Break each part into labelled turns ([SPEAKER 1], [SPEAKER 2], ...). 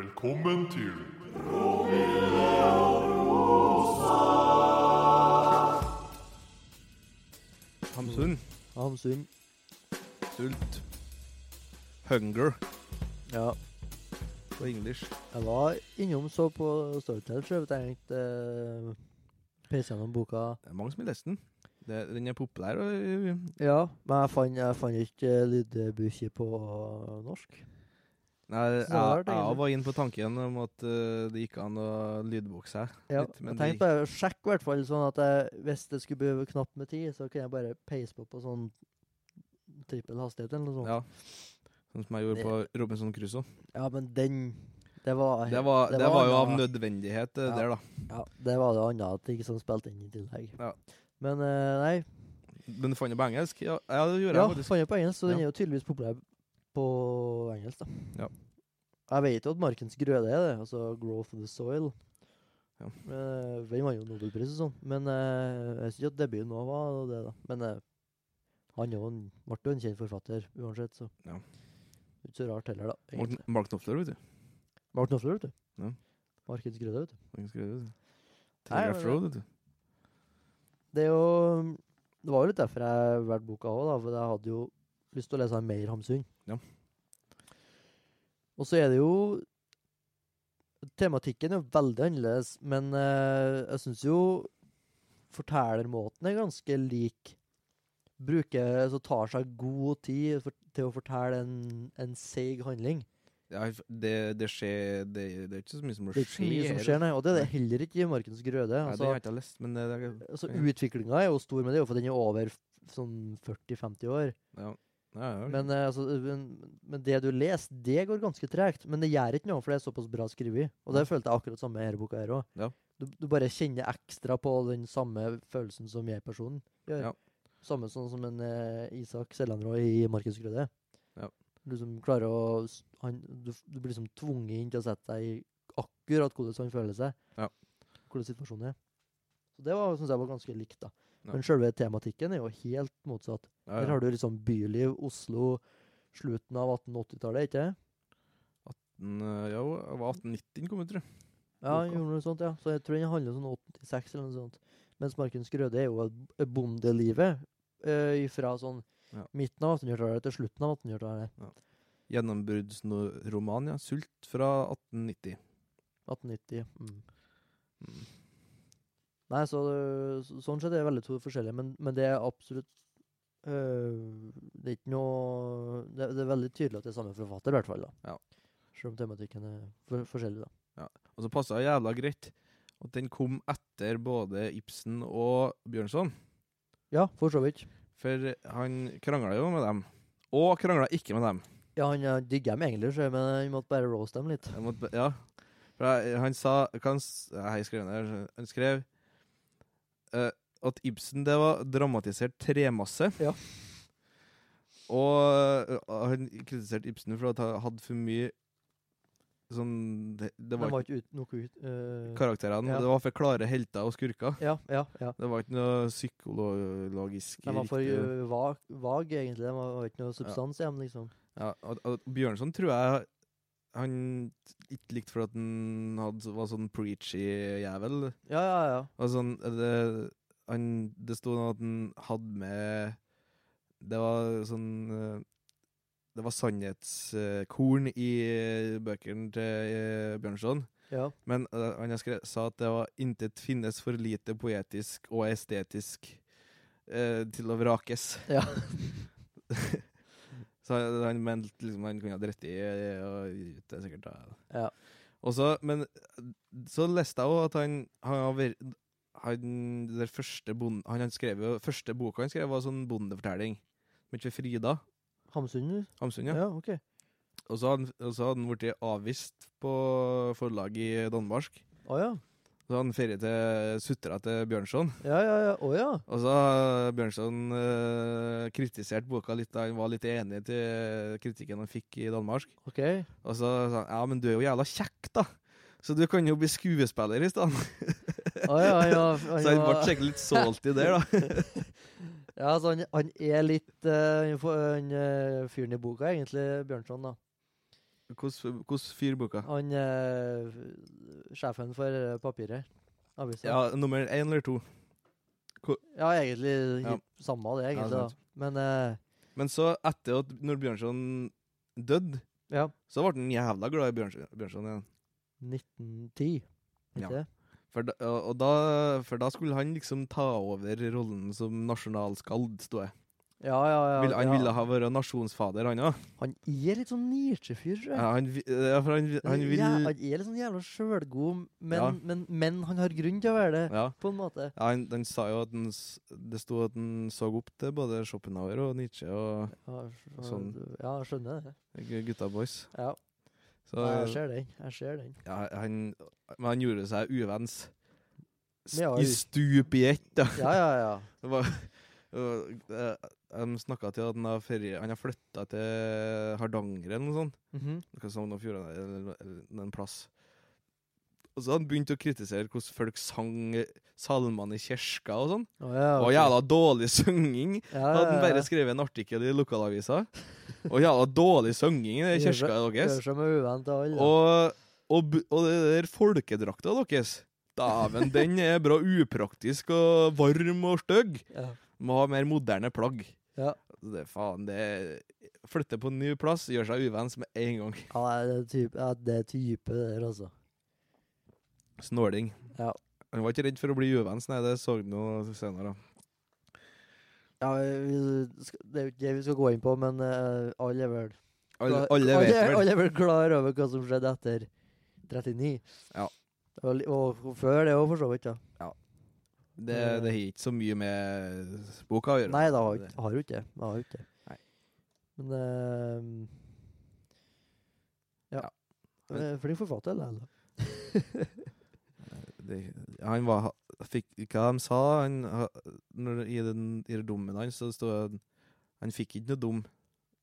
[SPEAKER 1] Velkommen til
[SPEAKER 2] Hamsun.
[SPEAKER 3] Hamsun.
[SPEAKER 2] Sult. Hunger
[SPEAKER 3] Ja.
[SPEAKER 2] på engelsk.
[SPEAKER 3] Jeg var innom så på Storytel, så jeg tenkte uh, peise gjennom boka.
[SPEAKER 2] Det er mange som har lest den. Det, den er populær. Og, eh,
[SPEAKER 3] Ja, men jeg fant, jeg fant ikke eh, lydbøker på norsk.
[SPEAKER 2] nei, jeg,
[SPEAKER 3] Så rart,
[SPEAKER 2] jeg
[SPEAKER 3] egentlig.
[SPEAKER 2] var inne på tanken om at eh, det gikk an å lydbokse her.
[SPEAKER 3] Ja,
[SPEAKER 2] Litt, men
[SPEAKER 3] jeg
[SPEAKER 2] det
[SPEAKER 3] tenkte bare å sjekke, i hvert fall, sånn at jeg, hvis det skulle bli knapt med tid, så kunne jeg bare peise på på sånn trippel hastighet eller noe sånt.
[SPEAKER 2] Ja. Sånn som jeg gjorde på Robinson Crusoe.
[SPEAKER 3] Ja, men den Det var
[SPEAKER 2] Det var,
[SPEAKER 3] det
[SPEAKER 2] det
[SPEAKER 3] var
[SPEAKER 2] var jo av
[SPEAKER 3] annet.
[SPEAKER 2] nødvendighet eh,
[SPEAKER 3] Ja.
[SPEAKER 2] der, da.
[SPEAKER 3] ja, det var det andre at det ikke sånn spilte inn i tillegg.
[SPEAKER 2] Ja.
[SPEAKER 3] Men eh, nei,
[SPEAKER 2] Men du fant det på engelsk? Ja, ja det gjorde
[SPEAKER 3] Ja,
[SPEAKER 2] jeg faktisk.
[SPEAKER 3] fant jeg på engelsk, så den
[SPEAKER 2] Ja.
[SPEAKER 3] er jo tydeligvis populær på engelsk, da.
[SPEAKER 2] Ja.
[SPEAKER 3] Jeg vet jo at Markens grøde er det, altså 'Growth of the Soil'.
[SPEAKER 2] Ja.
[SPEAKER 3] Eh, Den vant jo Nobelpris og sånn, men eh, jeg syns ikke at debuten òg var det, da. Men eh, han er jo en, ble jo en kjent forfatter uansett, så
[SPEAKER 2] Ja.
[SPEAKER 3] Ikke så rart heller, da.
[SPEAKER 2] Mark,
[SPEAKER 3] egentlig.
[SPEAKER 2] Mark Knopfler, vet du.
[SPEAKER 3] Mark Knopfler, vet du.
[SPEAKER 2] Ja.
[SPEAKER 3] Markens grøde, vet du.
[SPEAKER 2] Han skrev det, vet du.
[SPEAKER 3] Nei, men
[SPEAKER 2] Telegraph
[SPEAKER 3] det-
[SPEAKER 2] Road, vet du.
[SPEAKER 3] Det er jo Det var jo litt derfor jeg valgte boka òg, da. For jeg hadde jo lyst til å lese mer Hamsun.
[SPEAKER 2] Ja.
[SPEAKER 3] Og så er det jo Tematikken er jo veldig annerledes, men eh, jeg syns jo fortellermåten er ganske lik. Bruker Så tar seg god tid for, til å fortelle en, en seig handling.
[SPEAKER 2] Ja, det, det skjer det, det er ikke så mye som må
[SPEAKER 3] Det er ikke så mye som
[SPEAKER 2] her.
[SPEAKER 3] skjer, nei. Og det er det heller ikke i 'Markens grøde'.
[SPEAKER 2] Nei, det
[SPEAKER 3] Altså,
[SPEAKER 2] har jeg ikke lest, men det, det,
[SPEAKER 3] altså,
[SPEAKER 2] Ja.
[SPEAKER 3] Utviklinga er jo stor med det, for den er over f- sånn 40-50 år.
[SPEAKER 2] ja. Ja, ja, ok.
[SPEAKER 3] Men, eh, altså, men, men det du leser, det går ganske tregt. Men det gjør ikke noe, for det er såpass bra skrevet. Og det følte jeg akkurat samme i denne boka her òg.
[SPEAKER 2] Ja.
[SPEAKER 3] Du, du bare kjenner ekstra på den samme følelsen som jeg-personen gjør.
[SPEAKER 2] Ja.
[SPEAKER 3] Samme sånn som en eh, Isak Sellandrå i 'Markens grøde'.
[SPEAKER 2] Ja.
[SPEAKER 3] Du som klarer å s- han, du, f- du blir liksom tvunget inn til å sette deg i akkurat hvordan han føler seg.
[SPEAKER 2] Ja.
[SPEAKER 3] Hvordan situasjonen er. Så det var- synes jeg var ganske likt, da.
[SPEAKER 2] Ja.
[SPEAKER 3] Men selve tematikken er jo helt motsatt.
[SPEAKER 2] Ja, ja.
[SPEAKER 3] Der har du liksom byliv, Oslo, slutten av 1880-tallet, ikke det?
[SPEAKER 2] Mm, Ja, jo, det var 1890 den kom ut, tror jeg.
[SPEAKER 3] Ja, han
[SPEAKER 2] Boka.
[SPEAKER 3] gjorde noe sånt, ja. Så jeg tror den handler om sånn 86 eller noe sånt. Mens Markens Grøde er jo et bondelivet eh, fra sånn
[SPEAKER 2] Ja.
[SPEAKER 3] midten av 1800-tallet til slutten av 1800-tallet.
[SPEAKER 2] Gjennombruddsroman, ja. 'Sult' fra 1890.
[SPEAKER 3] 1890. Mm.
[SPEAKER 2] Mm.
[SPEAKER 3] Nei, så øh, så- sånn sett er det veldig to forskjellige, men, men det er absolutt øh, Det er ikke noe det, det er veldig tydelig at det er samme forfatter, i hvert fall. da.
[SPEAKER 2] Ja.
[SPEAKER 3] Selv om tematikken er for, forskjellig, da.
[SPEAKER 2] Og så passa det jævla greit at den kom etter både Ibsen og Bjørnson.
[SPEAKER 3] Ja, for så vidt.
[SPEAKER 2] For han krangla jo med dem. Og krangla ikke med dem.
[SPEAKER 3] Ja, han eh, digger dem egentlig, sjø, men vi måtte bare roaste dem litt.
[SPEAKER 2] Jeg måtte, ja. For jeg, han sa hva han, s- ja, jeg skrev ned, her. Han skrev eh, at Ibsen det var dramatisert tremasse.
[SPEAKER 3] Ja.
[SPEAKER 2] Og eh, han kritiserte Ibsen for at han hadde for mye sånn Det, det
[SPEAKER 3] De
[SPEAKER 2] var
[SPEAKER 3] var
[SPEAKER 2] ikke
[SPEAKER 3] ikke ut, noe ut eh,
[SPEAKER 2] karakterene.
[SPEAKER 3] Ja.
[SPEAKER 2] Det var for klare helter og skurker.
[SPEAKER 3] Ja, ja. ja.
[SPEAKER 2] Det var ikke noe psykologisk
[SPEAKER 3] De var for
[SPEAKER 2] riktig.
[SPEAKER 3] eh, vag, vag, egentlig. De var ikke noe substans i dem, liksom.
[SPEAKER 2] Ja, og, og Bjørnson tror jeg han ikke likte for at han hadde, var sånn preachy jævel.
[SPEAKER 3] Ja, ja, ja.
[SPEAKER 2] Og sånn, det, han, det sto noe at han hadde med Det var sånn eh, Det var sannhetskorn i eh, bøkene til eh, Bjørnson.
[SPEAKER 3] ja.
[SPEAKER 2] Men eh, han har skre- sa at det var intet finnes for lite poetisk og estetisk eh, til å vrakes.
[SPEAKER 3] Ja.
[SPEAKER 2] Så han- han mente liksom han kunne ha dritt i eh, og gitt det sikkert. Da.
[SPEAKER 3] Ja.
[SPEAKER 2] Og så, men eh, så leste jeg òg at han Han har vært han, det der første, bond, han, han skrev jo, første boka han skrev, var sånn bondefortelling. Men ikke Frida
[SPEAKER 3] Hamsun? du?
[SPEAKER 2] Hamsun, ja.
[SPEAKER 3] Ja, OK.
[SPEAKER 2] Og så hadde han- og så hadde han blitt avvist på forlag i Danmark.
[SPEAKER 3] Å ja.
[SPEAKER 2] Så han ferie til sutra til Bjørnson.
[SPEAKER 3] Ja, ja, ja. Å ja.
[SPEAKER 2] Og så har Bjørnson eh, kritisert boka litt, da han var litt enig til kritikken han fikk i Danmark.
[SPEAKER 3] OK.
[SPEAKER 2] Og så sa han ja, men du er jo jævla kjekk, da. Så du kan jo bli skuespiller i stedet.
[SPEAKER 3] Å ja, ja.
[SPEAKER 2] Så han
[SPEAKER 3] Han,
[SPEAKER 2] ble
[SPEAKER 3] var-
[SPEAKER 2] sikkert litt salty der, da.
[SPEAKER 3] ja, så han, øh, han er litt eh, han får- han, eh, fyren i boka, egentlig, Bjørnson, da.
[SPEAKER 2] Hvordan hvordan fyrboka?
[SPEAKER 3] Han eh, sjefen for eh, papiret. Avisa. Ja.
[SPEAKER 2] Ja, nummer én eller to.
[SPEAKER 3] egentlig
[SPEAKER 2] Ja.
[SPEAKER 3] hit- samme det, egentlig.
[SPEAKER 2] Ja,
[SPEAKER 3] da.
[SPEAKER 2] sant.
[SPEAKER 3] Men eh,
[SPEAKER 2] Men så, etter at når Bjørnson døde,
[SPEAKER 3] ja,
[SPEAKER 2] så ble han jævla glad i Bjørnson, Bjørnson igjen.
[SPEAKER 3] 1910. Ikke
[SPEAKER 2] Ja.
[SPEAKER 3] det?
[SPEAKER 2] For da, og da, for da skulle han liksom ta over rollen som nasjonalskald, sto jeg.
[SPEAKER 3] Ja, ja, ja.
[SPEAKER 2] Vil- Han
[SPEAKER 3] ja.
[SPEAKER 2] ville ha være nasjonsfader, han òg.
[SPEAKER 3] Han er litt sånn Nietzsche-fyr, tror jeg.
[SPEAKER 2] Ja, han, vi- ja, for han, vi- han vil
[SPEAKER 3] Ja, han er litt sånn jævla sjølgod, men,
[SPEAKER 2] Ja.
[SPEAKER 3] men, men han har grunn til å være det,
[SPEAKER 2] Ja,
[SPEAKER 3] på en måte.
[SPEAKER 2] ja han, han sa jo at han, s- det sto at han så opp til både Schopenhauer og Nietzsche og
[SPEAKER 3] Ja, skj-
[SPEAKER 2] Sånn.
[SPEAKER 3] ja jeg skjønner det.
[SPEAKER 2] gutta boys.
[SPEAKER 3] Ja,
[SPEAKER 2] Så
[SPEAKER 3] jeg ser den. Jeg ser den.
[SPEAKER 2] ja, han, men han gjorde seg uvenns. S-
[SPEAKER 3] Ja,
[SPEAKER 2] I
[SPEAKER 3] u-
[SPEAKER 2] stup i ett, da.
[SPEAKER 3] Ja, ja, ja.
[SPEAKER 2] Det var, det var- eh, de snakka til at han har, ferie- han har flytta til Hardanger eller noe sånt.
[SPEAKER 3] Mhm.
[SPEAKER 2] Noe Sogn og Fjordane eller, eller en plass. Og så hadde han begynt å kritisere hvordan folk sang eh, salmene i kirka og sånn.
[SPEAKER 3] Å, ja,
[SPEAKER 2] Og
[SPEAKER 3] ok.
[SPEAKER 2] jævla dårlig synging.
[SPEAKER 3] Ja, ja,
[SPEAKER 2] Hadde han
[SPEAKER 3] ja.
[SPEAKER 2] bare skrevet en artikkel i lokalavisa. Og jævla dårlig synging i
[SPEAKER 3] Gjør seg-
[SPEAKER 2] kirka deres.
[SPEAKER 3] Gjør seg med uvant til alle.
[SPEAKER 2] Og, og, bu- og det der folkedrakta deres Dæven, den er bra upraktisk og varm og stygg.
[SPEAKER 3] ja.
[SPEAKER 2] Må ha mer moderne plagg.
[SPEAKER 3] Ja.
[SPEAKER 2] Det, faen, det Flytte på en ny plass, gjør seg uvenns med en gang.
[SPEAKER 3] Ja, nei, det er type, ja, det er type det der, altså.
[SPEAKER 2] Snåling.
[SPEAKER 3] Ja.
[SPEAKER 2] Han var ikke redd for å bli uvenns, nei, det så han jo senere.
[SPEAKER 3] Ja, vi, skal- det er jo ikke det vi skal gå inn på, men eh, alle er vel
[SPEAKER 2] Alle,
[SPEAKER 3] klar-
[SPEAKER 2] alle vet vel.
[SPEAKER 3] alle er vel klar over hva som skjedde etter 39.
[SPEAKER 2] Ja.
[SPEAKER 3] Og, li- og, og før det òg, for så vidt. da.
[SPEAKER 2] Det, det har ikke så mye med boka å gjøre.
[SPEAKER 3] Nei, det har, jo ikke- har jo ikke det. det. Har jo ikke. det.
[SPEAKER 2] Nei.
[SPEAKER 3] Men eh, ja.
[SPEAKER 2] Ja.
[SPEAKER 3] Eh, Flink forfatter, eller?
[SPEAKER 2] Det- Han var fikk, Hva de sa han, ha- når, i, den, I den dommen hans, så stod det Han fikk ikke noe dum.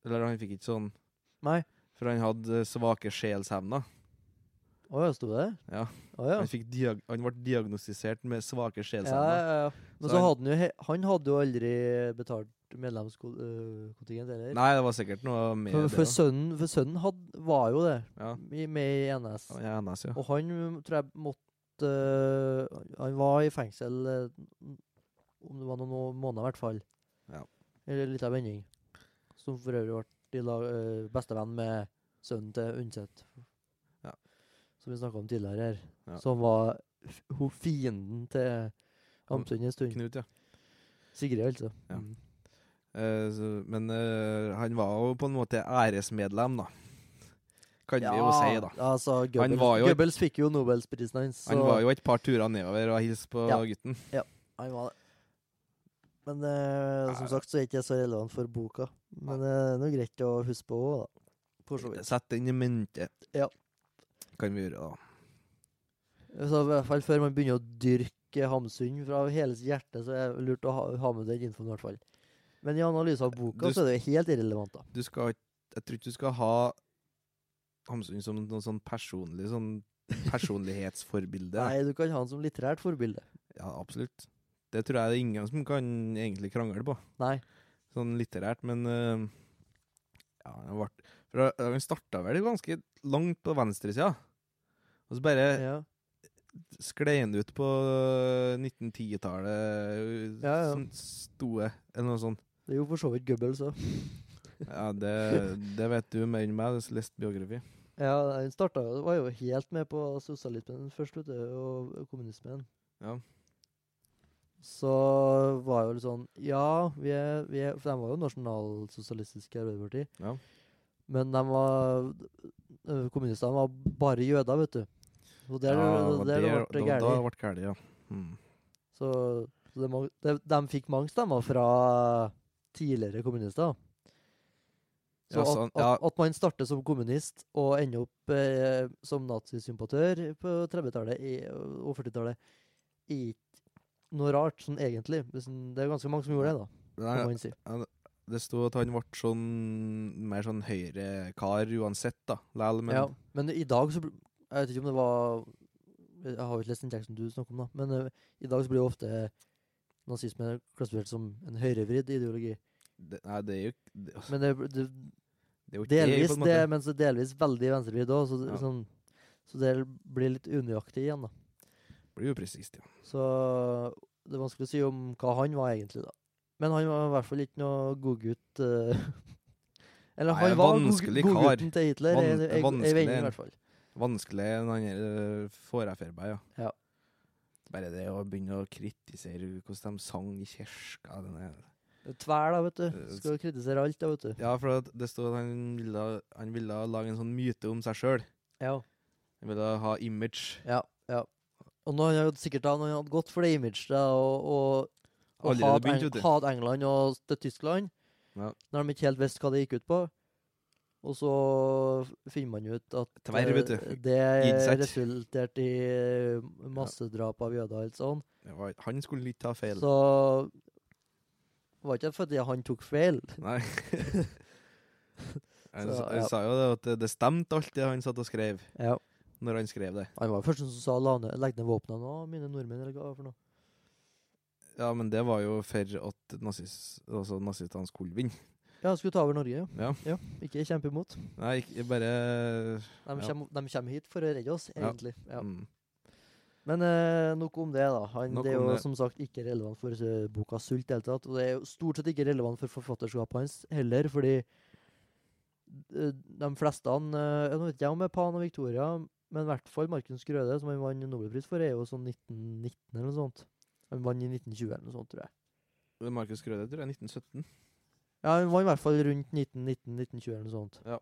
[SPEAKER 2] Eller han fikk ikke sånn
[SPEAKER 3] Nei.
[SPEAKER 2] For han hadde svake sjelshemner.
[SPEAKER 3] Å ja, sto det?
[SPEAKER 2] Ja.
[SPEAKER 3] Å ja.
[SPEAKER 2] Han, fikk diag han ble diagnostisert med svake
[SPEAKER 3] Ja, ja,
[SPEAKER 2] sjelshemner.
[SPEAKER 3] ja. Men
[SPEAKER 2] Så
[SPEAKER 3] så,
[SPEAKER 2] han-
[SPEAKER 3] hadde han jo he han hadde jo aldri betalt medlemskontingent heller.
[SPEAKER 2] Nei, det var sikkert noe med
[SPEAKER 3] for,
[SPEAKER 2] det.
[SPEAKER 3] for
[SPEAKER 2] da.
[SPEAKER 3] sønnen, for sønnen had, var jo det,
[SPEAKER 2] Ja.
[SPEAKER 3] i- med i NS.
[SPEAKER 2] Ja, NS, ja.
[SPEAKER 3] Og han um, tror jeg måtte øh, Han var i fengsel øh, om det var noen må- måneder, i hvert fall.
[SPEAKER 2] Ja.
[SPEAKER 3] Eller en liten vending. Som for øvrig ble i lag, øh, bestevenn med sønnen til Undset.
[SPEAKER 2] Ja.
[SPEAKER 3] Som vi snakka om tidligere her.
[SPEAKER 2] Ja.
[SPEAKER 3] Som var f ho fienden til Amsund en stund.
[SPEAKER 2] Knut, ja.
[SPEAKER 3] Sigrid, altså.
[SPEAKER 2] Ja.
[SPEAKER 3] Mm.
[SPEAKER 2] Eh, så, men eh, han var jo på en måte æresmedlem, da. Kan vi jo si, da.
[SPEAKER 3] Altså, Goebbels,
[SPEAKER 2] var jo et-
[SPEAKER 3] Goebbels fikk jo Nobelsprisen hans.
[SPEAKER 2] Han
[SPEAKER 3] så-
[SPEAKER 2] var jo et par turer nedover og hilste på
[SPEAKER 3] Ja.
[SPEAKER 2] gutten.
[SPEAKER 3] Han var det. Men eh, som
[SPEAKER 2] Ja.
[SPEAKER 3] sagt så er ikke det så relevant for boka. Men eh, det er noe greit å huske på òg, da. For så vidt.
[SPEAKER 2] Sett den i mente.
[SPEAKER 3] Ja.
[SPEAKER 2] Kan vi gjøre, da.
[SPEAKER 3] Eh, Så i hvert fall før man begynner å dyrke Hamsun fra hele sitt hjerte, så er det lurt å ha, ha med den infoen, i hvert fall. Men i analyse av boka
[SPEAKER 2] Du-
[SPEAKER 3] så er det jo helt irrelevant, da.
[SPEAKER 2] Du skal ikke Jeg tror ikke du skal ha Hamsun som noe sånn personlig sånn personlighetsforbilde.
[SPEAKER 3] Nei, du kan ha den som litterært forbilde.
[SPEAKER 2] Ja, absolutt. Det tror jeg det er ingen som kan egentlig krangle på,
[SPEAKER 3] Nei.
[SPEAKER 2] sånn litterært, men øh, Ja, han ble For han- han starta vel ganske langt på venstresida, og så bare
[SPEAKER 3] Ja.
[SPEAKER 2] sklei han ut på øh, 1910-tallet.
[SPEAKER 3] Ja, ja.
[SPEAKER 2] Sånn stoe, eller noe sånt.
[SPEAKER 3] Det er jo for så vidt Goebbels òg.
[SPEAKER 2] Ja, det, det vet du mer enn meg, du har lest biografi.
[SPEAKER 3] Ja, han starta jo Var jo helt med på sosialismen først, vet du, og kommunismen.
[SPEAKER 2] Ja.
[SPEAKER 3] Så var jo litt sånn Ja, vi er, vi er For de var jo nasjonalsosialistiske Arbeiderparti.
[SPEAKER 2] Ja.
[SPEAKER 3] Men de var øh, Kommunistene var bare jøder, vet du. Og der,
[SPEAKER 2] Ja,
[SPEAKER 3] der,
[SPEAKER 2] det-
[SPEAKER 3] ble
[SPEAKER 2] da-
[SPEAKER 3] det
[SPEAKER 2] Da
[SPEAKER 3] gærent.
[SPEAKER 2] ble det gærent, ja. Mm.
[SPEAKER 3] Så, så de, de, de fikk mange stemmer fra tidligere kommunister. Så
[SPEAKER 2] Ja, sånn,
[SPEAKER 3] at,
[SPEAKER 2] ja.
[SPEAKER 3] at, at man starter som kommunist og ender opp eh, som nazisympatør på 30-tallet i- og 40-tallet, er ikke noe rart, sånn egentlig. Hvis en- Det er ganske mange som gjorde det, da.
[SPEAKER 2] Nei,
[SPEAKER 3] Kan man si.
[SPEAKER 2] Det sto at han ble sånn mer sånn høyrekar uansett, da. Læl, men
[SPEAKER 3] Men, ja. men i dag så bl- Jeg vet ikke om det var Jeg har jo ikke lest den teksten du snakker om, da. Men eh, i dag så blir jo ofte nazisme klassifisert som en høyrevridd ideologi.
[SPEAKER 2] det, nei, det er jo ikke- det,
[SPEAKER 3] Men det, det,
[SPEAKER 2] Det er jo ikke
[SPEAKER 3] Delvis
[SPEAKER 2] på en måte.
[SPEAKER 3] det, men så delvis veldig venstrevridd òg, så, det-
[SPEAKER 2] Ja.
[SPEAKER 3] sånn, så det blir litt unøyaktig igjen, da.
[SPEAKER 2] blir jo presist, ja.
[SPEAKER 3] Så det er vanskelig å si om hva han var egentlig, da. Men han var i hvert fall ikke noe godgutt. eh, Eller
[SPEAKER 2] Nei,
[SPEAKER 3] han
[SPEAKER 2] en
[SPEAKER 3] var god-
[SPEAKER 2] vanskelig
[SPEAKER 3] godgutten til Hitler,
[SPEAKER 2] Van-
[SPEAKER 3] ei- ei-
[SPEAKER 2] vanskelig
[SPEAKER 3] ei vending, i
[SPEAKER 2] en.
[SPEAKER 3] hvert fall.
[SPEAKER 2] Vanskelig enn han eh, her foreferba, ja.
[SPEAKER 3] Ja.
[SPEAKER 2] Bare det å begynne å kritisere hvordan de sang i kirka den er-
[SPEAKER 3] Tvær, da, vet
[SPEAKER 2] Eh,
[SPEAKER 3] du. Skal kritisere alt, da, vet du.
[SPEAKER 2] Ja, for at det står at han ville, han ville lage en sånn myte om seg sjøl.
[SPEAKER 3] Ja.
[SPEAKER 2] Han ville ha image.
[SPEAKER 3] Ja, ja. Og nå har han jo sikkert da, når han hadde gått for det imaget da, og, og, og
[SPEAKER 2] Allerede
[SPEAKER 3] hat,
[SPEAKER 2] begynt, vet
[SPEAKER 3] Eng
[SPEAKER 2] du.
[SPEAKER 3] hat England og støtt Tyskland,
[SPEAKER 2] Ja.
[SPEAKER 3] når de ikke helt visste hva det gikk ut på. Og så f- finner man ut at
[SPEAKER 2] Tverr, vet du.
[SPEAKER 3] eh, det
[SPEAKER 2] Gidsert.
[SPEAKER 3] resulterte i eh, massedrap av jøder og alt sånn.
[SPEAKER 2] Det var- Han skulle ikke ta feil.
[SPEAKER 3] Så var ikke det fordi han tok feil.
[SPEAKER 2] Nei. Han,
[SPEAKER 3] Så,
[SPEAKER 2] sa- han
[SPEAKER 3] ja.
[SPEAKER 2] sa jo det at det- det stemte alt det han satt og skrev,
[SPEAKER 3] Ja.
[SPEAKER 2] når han skrev det.
[SPEAKER 3] Han var først som sa la ned- legg ned våpnene nå, mine nordmenn, eller hva for noe.
[SPEAKER 2] Ja, men det var jo for at nazis, altså nazistene skulle vinne.
[SPEAKER 3] Ja, skulle ta over Norge.
[SPEAKER 2] Ja.
[SPEAKER 3] ja. Ikke kjempe imot.
[SPEAKER 2] Nei, ikke bare
[SPEAKER 3] De,
[SPEAKER 2] Ja.
[SPEAKER 3] kommer, de kommer hit for å redde oss,
[SPEAKER 2] Ja.
[SPEAKER 3] egentlig. Ja.
[SPEAKER 2] mm.
[SPEAKER 3] Men eh, nok om det, da. Han,
[SPEAKER 2] Nok
[SPEAKER 3] det er
[SPEAKER 2] om
[SPEAKER 3] jo
[SPEAKER 2] det.
[SPEAKER 3] som sagt ikke relevant for eh, boka 'Sult' i det hele tatt. Og det er jo stort sett ikke relevant for forfatterskapet hans heller, fordi eh, de fleste han eh, Jeg vet ikke om det er Pan og Victoria, men i hvert fall Markus Grøde, som han vant Nobelpris for, er jo sånn 1919 eller noe sånt. Han vant i 1920 eller noe sånt, tror jeg.
[SPEAKER 2] Det er Markus Grøde, tror jeg. 1917.
[SPEAKER 3] Ja, han var i hvert fall rundt 1919-1920 eller noe sånt.
[SPEAKER 2] Ja.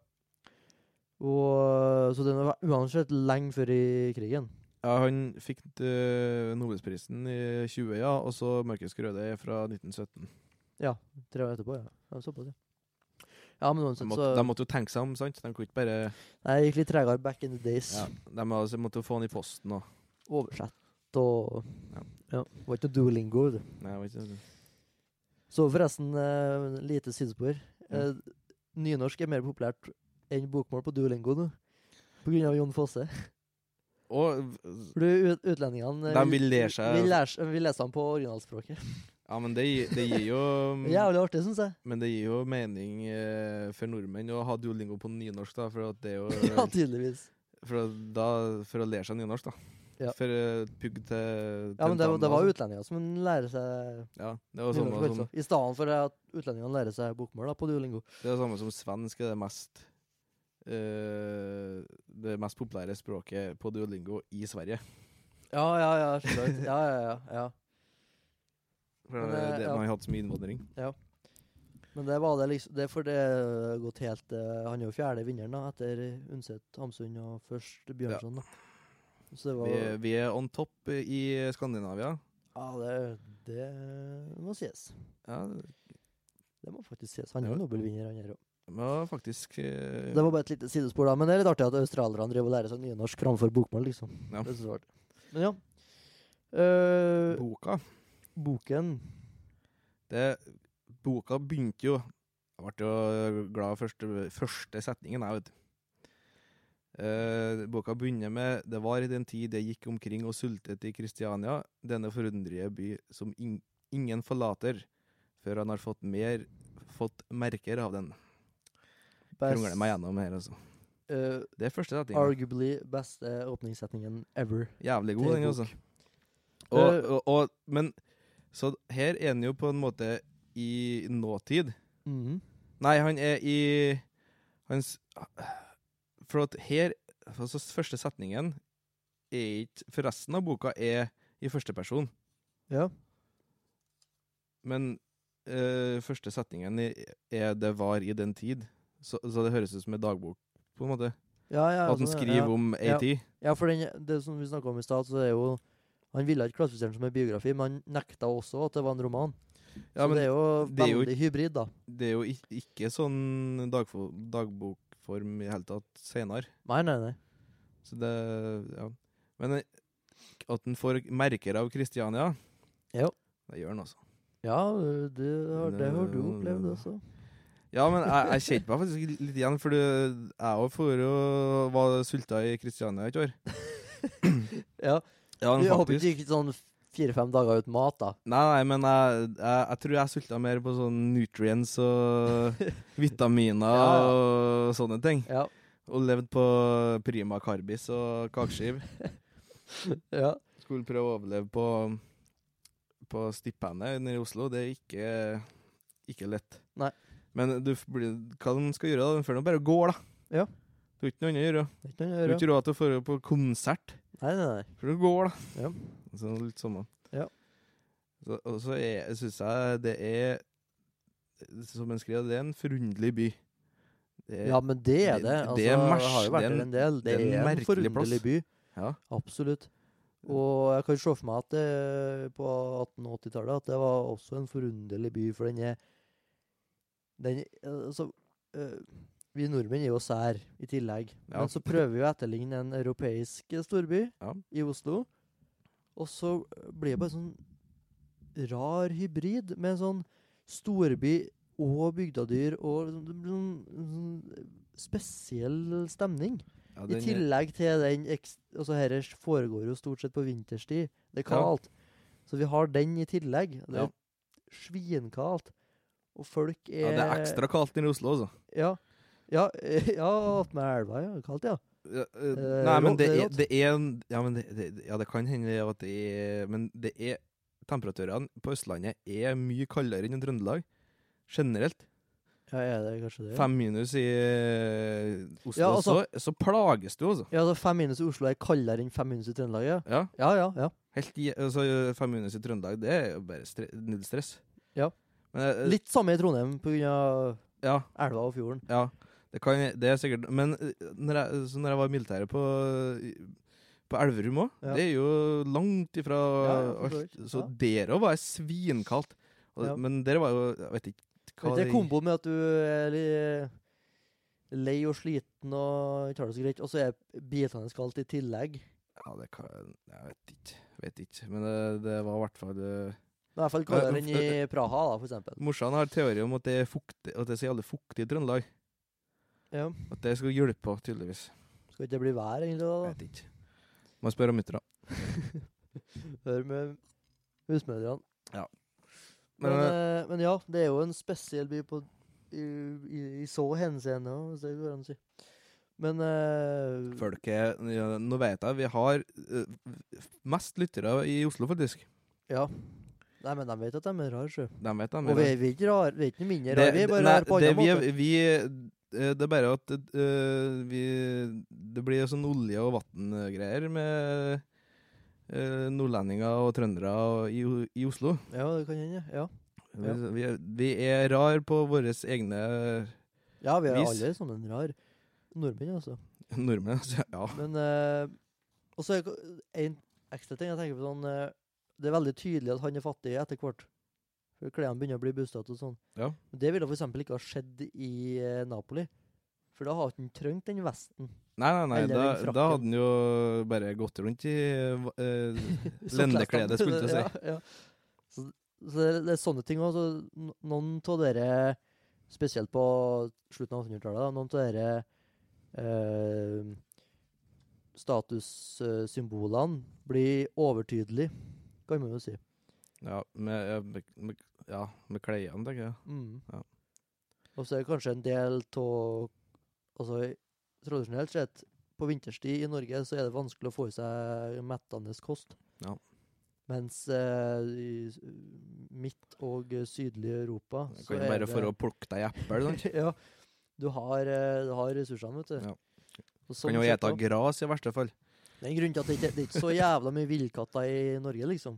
[SPEAKER 3] Og, eh, så den var uansett lenge før i krigen.
[SPEAKER 2] Ja, han fikk eh, Nobelsprisen i 20, ja, og så Markus Grøde er fra 1917.
[SPEAKER 3] Tre år etterpå, ja. ja såpass, ja. Ja, men
[SPEAKER 2] De
[SPEAKER 3] uansett,
[SPEAKER 2] måtte, de
[SPEAKER 3] så
[SPEAKER 2] måtte jo tenke seg om, sant? De kunne ikke bare
[SPEAKER 3] Nei, det gikk litt tregere back in the days.
[SPEAKER 2] ja, De altså måtte jo få den i posten og
[SPEAKER 3] Oversett og
[SPEAKER 2] Ja.
[SPEAKER 3] ja. Var ikke noe duolingo. det.
[SPEAKER 2] Nei, jeg vet ikke.
[SPEAKER 3] Så forresten, eh, lite sidespor. Eh,
[SPEAKER 2] Mm.
[SPEAKER 3] nynorsk er mer populært enn bokmål på duolingo nå. På grunn av Jon Fosse.
[SPEAKER 2] Og
[SPEAKER 3] For du, ut- utlendingene eh,
[SPEAKER 2] De vil lære seg-
[SPEAKER 3] vil, lære, seg- vil lese dem på originalspråket.
[SPEAKER 2] Ja, men det, gi- det gir jo
[SPEAKER 3] Jævlig artig, syns jeg.
[SPEAKER 2] Men det gir jo mening eh, for nordmenn å ha duolingo på nynorsk, da, for at det er
[SPEAKER 3] Ja,
[SPEAKER 2] jo
[SPEAKER 3] tydeligvis.
[SPEAKER 2] for, å- da, for å lære seg nynorsk, da.
[SPEAKER 3] Ja.
[SPEAKER 2] For eh, pugg til
[SPEAKER 3] Ja, men det,
[SPEAKER 2] tentamen
[SPEAKER 3] det
[SPEAKER 2] og
[SPEAKER 3] var
[SPEAKER 2] sånn.
[SPEAKER 3] utlendinger som lærer seg
[SPEAKER 2] Ja, det var
[SPEAKER 3] nynorsk,
[SPEAKER 2] samme
[SPEAKER 3] altså.
[SPEAKER 2] som,
[SPEAKER 3] I stedet for at utlendingene lærer seg bokmål da, på duolingo.
[SPEAKER 2] det var samme som svensk er det mest eh, Det mest populære språket på duolingo i Sverige.
[SPEAKER 3] Ja, ja, ja. Slett. ja, ja, ja, ja.
[SPEAKER 2] For
[SPEAKER 3] Men,
[SPEAKER 2] det,
[SPEAKER 3] eh,
[SPEAKER 2] det,
[SPEAKER 3] ja.
[SPEAKER 2] man har hatt så mye innvandring.
[SPEAKER 3] Men det var det liksom Det er for det har gått helt eh, Han er jo fjerde vinneren, da, etter Undset, Hamsun og først Bjørnson, da. Så det var
[SPEAKER 2] Vi, vi er on top i Skandinavia.
[SPEAKER 3] Ja, det, det må sies.
[SPEAKER 2] Ja,
[SPEAKER 3] Det må faktisk sies. Han er
[SPEAKER 2] Ja.
[SPEAKER 3] jo Nobelvinner, han her òg.
[SPEAKER 2] det var faktisk eh,
[SPEAKER 3] Det var bare et lite sidespor, da. Men det er litt artig at australierne driver og lærer seg nynorsk framfor bokmål, liksom.
[SPEAKER 2] Ja.
[SPEAKER 3] Det synes jeg var artig. Men ja. Eh,
[SPEAKER 2] boka.
[SPEAKER 3] boken
[SPEAKER 2] Det, boka begynte jo Jeg ble jo øh, glad første, første setningen, jeg, vet du. Eh, boka begynner med Det var i den tid jeg gikk omkring og sultet i Kristiania, denne forunderlige by som ing- ingen forlater før han har fått mer Fått merker av den.
[SPEAKER 3] best-
[SPEAKER 2] Krongler meg gjennom her, altså.
[SPEAKER 3] eh,
[SPEAKER 2] Det er første setningen.
[SPEAKER 3] Arguably beste åpningssetningen ever.
[SPEAKER 2] Jævlig
[SPEAKER 3] til
[SPEAKER 2] god, den,
[SPEAKER 3] bok.
[SPEAKER 2] altså. Og,
[SPEAKER 3] Eh,
[SPEAKER 2] og, og, men Så her er han jo på en måte i nåtid. Mm.
[SPEAKER 3] Mhm.
[SPEAKER 2] Nei, han er i Hans For at her Altså, første setningen er ikke For resten av boka er i første person,
[SPEAKER 3] Ja.
[SPEAKER 2] men eh, første setningen i- er 'det var i den tid'. Så, så det høres ut som en dagbok, på en måte.
[SPEAKER 3] Ja, ja,
[SPEAKER 2] At han
[SPEAKER 3] sånn,
[SPEAKER 2] skriver
[SPEAKER 3] ja.
[SPEAKER 2] om ei
[SPEAKER 3] Ja.
[SPEAKER 2] tid.
[SPEAKER 3] Ja, for den, det som vi snakka om i stad, så er jo Han ville ikke klassifisere den som en biografi, men han nekta også at det var en roman.
[SPEAKER 2] Ja,
[SPEAKER 3] så
[SPEAKER 2] men
[SPEAKER 3] det er jo
[SPEAKER 2] det er jo
[SPEAKER 3] veldig hybrid, da.
[SPEAKER 2] det er jo ik- ikke sånn dagfo- dagbokform i hele tatt seinere.
[SPEAKER 3] Nei, nei, nei.
[SPEAKER 2] Så det Ja. Men eh, at han får merker av Kristiania,
[SPEAKER 3] Ja.
[SPEAKER 2] det gjør han, altså.
[SPEAKER 3] Ja, øh, det har, det har du opplevd også.
[SPEAKER 2] Ja, men jeg, jeg kjente meg faktisk litt- litt igjen, for jeg òg for å var sulta i Kristiania et år.
[SPEAKER 3] Ja,
[SPEAKER 2] Ja,
[SPEAKER 3] jeg håper ikke det gikk sånn fire-fem dager uten mat, da.
[SPEAKER 2] Nei, nei, men jeg, jeg, jeg tror jeg sulta mer på sånn nutrients og vitaminer
[SPEAKER 3] Ja, ja.
[SPEAKER 2] og sånne ting.
[SPEAKER 3] Ja.
[SPEAKER 2] Og levd på prima carbis og kakeskiv.
[SPEAKER 3] ja.
[SPEAKER 2] Skulle prøve å overleve på, på stipendet nede i Oslo. Det er ikke, ikke lett.
[SPEAKER 3] Nei.
[SPEAKER 2] Men du, f- blir, hva de skal gjøre da? De får nå bare gå, da.
[SPEAKER 3] Ja.
[SPEAKER 2] Du har ikke noe annet å gjøre. Du
[SPEAKER 3] Det er ikke noe å
[SPEAKER 2] har
[SPEAKER 3] gjøre.
[SPEAKER 2] ikke råd til å dra på konsert.
[SPEAKER 3] Nei, nei, nei.
[SPEAKER 2] For du går, da.
[SPEAKER 3] Ja.
[SPEAKER 2] Så det er litt samme.
[SPEAKER 3] Ja.
[SPEAKER 2] Så, og så syns jeg det er Som en skrev, det er en forunderlig by. Det er,
[SPEAKER 3] Ja, men det er
[SPEAKER 2] det-
[SPEAKER 3] det. Altså,
[SPEAKER 2] det er mers-
[SPEAKER 3] jeg har jo
[SPEAKER 2] det
[SPEAKER 3] vært
[SPEAKER 2] er en-
[SPEAKER 3] der en del. Det er en,
[SPEAKER 2] merkelig
[SPEAKER 3] forunderlig
[SPEAKER 2] plass.
[SPEAKER 3] by.
[SPEAKER 2] Ja.
[SPEAKER 3] Absolutt. Og jeg kan se for meg at det, på 1880-tallet at det var også en forunderlig by, for den er den, altså, øh, Vi nordmenn er jo sær i tillegg.
[SPEAKER 2] Ja.
[SPEAKER 3] Men så prøver vi å etterligne en europeisk storby
[SPEAKER 2] Ja.
[SPEAKER 3] i Oslo. Og så blir det bare sånn rar hybrid med en sånn storby og bygdadyr og liksom- det blir en- en sånn spesiell stemning.
[SPEAKER 2] ja,
[SPEAKER 3] I
[SPEAKER 2] den er-
[SPEAKER 3] tillegg til den ekst- Altså dette foregår jo stort sett på vinterstid. Det er
[SPEAKER 2] Ja.
[SPEAKER 3] kaldt. Så vi har den i tillegg. og Det
[SPEAKER 2] Ja.
[SPEAKER 3] er svinkaldt. Og folk er
[SPEAKER 2] ja, det er ekstra kaldt nede i Oslo, altså.
[SPEAKER 3] Ja. Ja, eh, ja attmed elva, ja. Kaldt, ja.
[SPEAKER 2] Ja, eh,
[SPEAKER 3] Eh,
[SPEAKER 2] nei, men det
[SPEAKER 3] rått, det er
[SPEAKER 2] er,
[SPEAKER 3] rått.
[SPEAKER 2] det er en- Ja, men det, det, ja, det kan hende at det er Men det er Temperaturene på Østlandet er mye kaldere enn i Trøndelag. Generelt.
[SPEAKER 3] Ja, er det kanskje det? ja?
[SPEAKER 2] Fem minus i eh, Oslo,
[SPEAKER 3] Ja,
[SPEAKER 2] så,
[SPEAKER 3] altså-
[SPEAKER 2] så plages du, altså.
[SPEAKER 3] Ja, altså Fem minus i Oslo er kaldere enn fem minus i Trøndelag, ja.
[SPEAKER 2] Ja.
[SPEAKER 3] Ja, ja, ja.
[SPEAKER 2] Helt i, altså, fem minus i Trøndelag, det er jo bare stre null stress.
[SPEAKER 3] Ja.
[SPEAKER 2] Men, eh,
[SPEAKER 3] Litt samme i Trondheim pga.
[SPEAKER 2] Ja,
[SPEAKER 3] elva og fjorden.
[SPEAKER 2] ja. Det, kan, det er sikkert Men eh, når jeg, så når jeg var i militæret på, på Elverum òg,
[SPEAKER 3] Ja.
[SPEAKER 2] det er jo langt ifra
[SPEAKER 3] Ja, ja, for så
[SPEAKER 2] alt.
[SPEAKER 3] vidt,
[SPEAKER 2] Så
[SPEAKER 3] ja.
[SPEAKER 2] der òg var jeg svinkaldt. Og,
[SPEAKER 3] Ja.
[SPEAKER 2] Men der var jo Jeg vet ikke hva
[SPEAKER 3] Men det er kombo med at du er litt lei og sliten og ikke har det så greit, og så er bitene kaldt i tillegg.
[SPEAKER 2] ja, det kan, Jeg vet ikke. Vet ikke. Men det, det var i hvert fall eh,
[SPEAKER 3] I hvert fall
[SPEAKER 2] Ja,
[SPEAKER 3] kaldere enn
[SPEAKER 2] men-
[SPEAKER 3] i Praha, da, for eksempel.
[SPEAKER 2] Morsan har teori om at det er fuktig, at det er så jævlig fuktig i Trøndelag.
[SPEAKER 3] Ja.
[SPEAKER 2] At det skal hjelpe på, tydeligvis.
[SPEAKER 3] Skal ikke det bli vær, egentlig?
[SPEAKER 2] Jeg
[SPEAKER 3] da?
[SPEAKER 2] vet ikke. Må spørre om mutter'n.
[SPEAKER 3] da? Hør med husmødrene.
[SPEAKER 2] Ja.
[SPEAKER 3] Men,
[SPEAKER 2] Men,
[SPEAKER 3] eh, men ja, det er jo en spesiell by på, i, i, i så henseende, også, hvis det går an å si. Men eh,
[SPEAKER 2] Folket ja, Nå vet jeg vi har eh, mest lyttere i Oslo, faktisk.
[SPEAKER 3] Ja. Nei, men de vet at de er rare, sjø.
[SPEAKER 2] De vet dem,
[SPEAKER 3] Og vi er vi er ikke rare. Vi er ikke noe mindre
[SPEAKER 2] Det-
[SPEAKER 3] rare. Vi er bare
[SPEAKER 2] nei,
[SPEAKER 3] rare på
[SPEAKER 2] det
[SPEAKER 3] andre
[SPEAKER 2] vi er-
[SPEAKER 3] måter.
[SPEAKER 2] vi, eh, det er bare at eh, vi, det blir sånn olje- og vanngreier med eh, nordlendinger og trøndere og, i, O- i Oslo.
[SPEAKER 3] Ja, det kan hende. Ja,
[SPEAKER 2] Vi,
[SPEAKER 3] Ja.
[SPEAKER 2] vi, er, vi er rar på våre egne
[SPEAKER 3] ja vi er
[SPEAKER 2] Vis.
[SPEAKER 3] alle sammen rare. Nordmenn, altså.
[SPEAKER 2] nordmenn. Så, ja.
[SPEAKER 3] Men eh, Og så er det en ekstra ting jeg tenker på sånn eh, Det er veldig tydelig at han er fattig etter hvert. For Klærne begynner å bli bustete og sånn.
[SPEAKER 2] Ja.
[SPEAKER 3] Men Det ville for eksempel ikke ha skjedd i eh, Napoli. For da har han ikke trengt den vesten.
[SPEAKER 2] Nei, nei, nei.
[SPEAKER 3] Eller
[SPEAKER 2] Da,
[SPEAKER 3] den frakken.
[SPEAKER 2] da hadde han jo bare gått rundt i eh, Lendekledet,
[SPEAKER 3] Sokkelestene.
[SPEAKER 2] skulle jeg til å si.
[SPEAKER 3] Ja, ja. Så, så det, er- det er sånne ting òg. Noen av dere, spesielt på slutten av 1800-tallet, da, noen av dere eh, statussymbolene blir overtydelige, kan man jo si.
[SPEAKER 2] Ja, med, ja, med, med, ja, med klærne, tenker jeg.
[SPEAKER 3] Mm.
[SPEAKER 2] Ja.
[SPEAKER 3] Og så er det kanskje en del av Altså i- tradisjonelt sett, på vinterstid i Norge, så er det vanskelig å få i seg mettende kost.
[SPEAKER 2] Ja.
[SPEAKER 3] Mens eh, i s- midt- og sydlige Europa
[SPEAKER 2] Du kan jo bare for å plukke deg eple. sant?
[SPEAKER 3] Ja. Du har, eh, du har ressursene, vet du.
[SPEAKER 2] Ja.
[SPEAKER 3] Og sånn
[SPEAKER 2] Kan jo
[SPEAKER 3] sett
[SPEAKER 2] ete
[SPEAKER 3] da-
[SPEAKER 2] gras, i verste fall.
[SPEAKER 3] Det er en grunn til at det ikke det er ikke så jævla mye villkatter i Norge, liksom.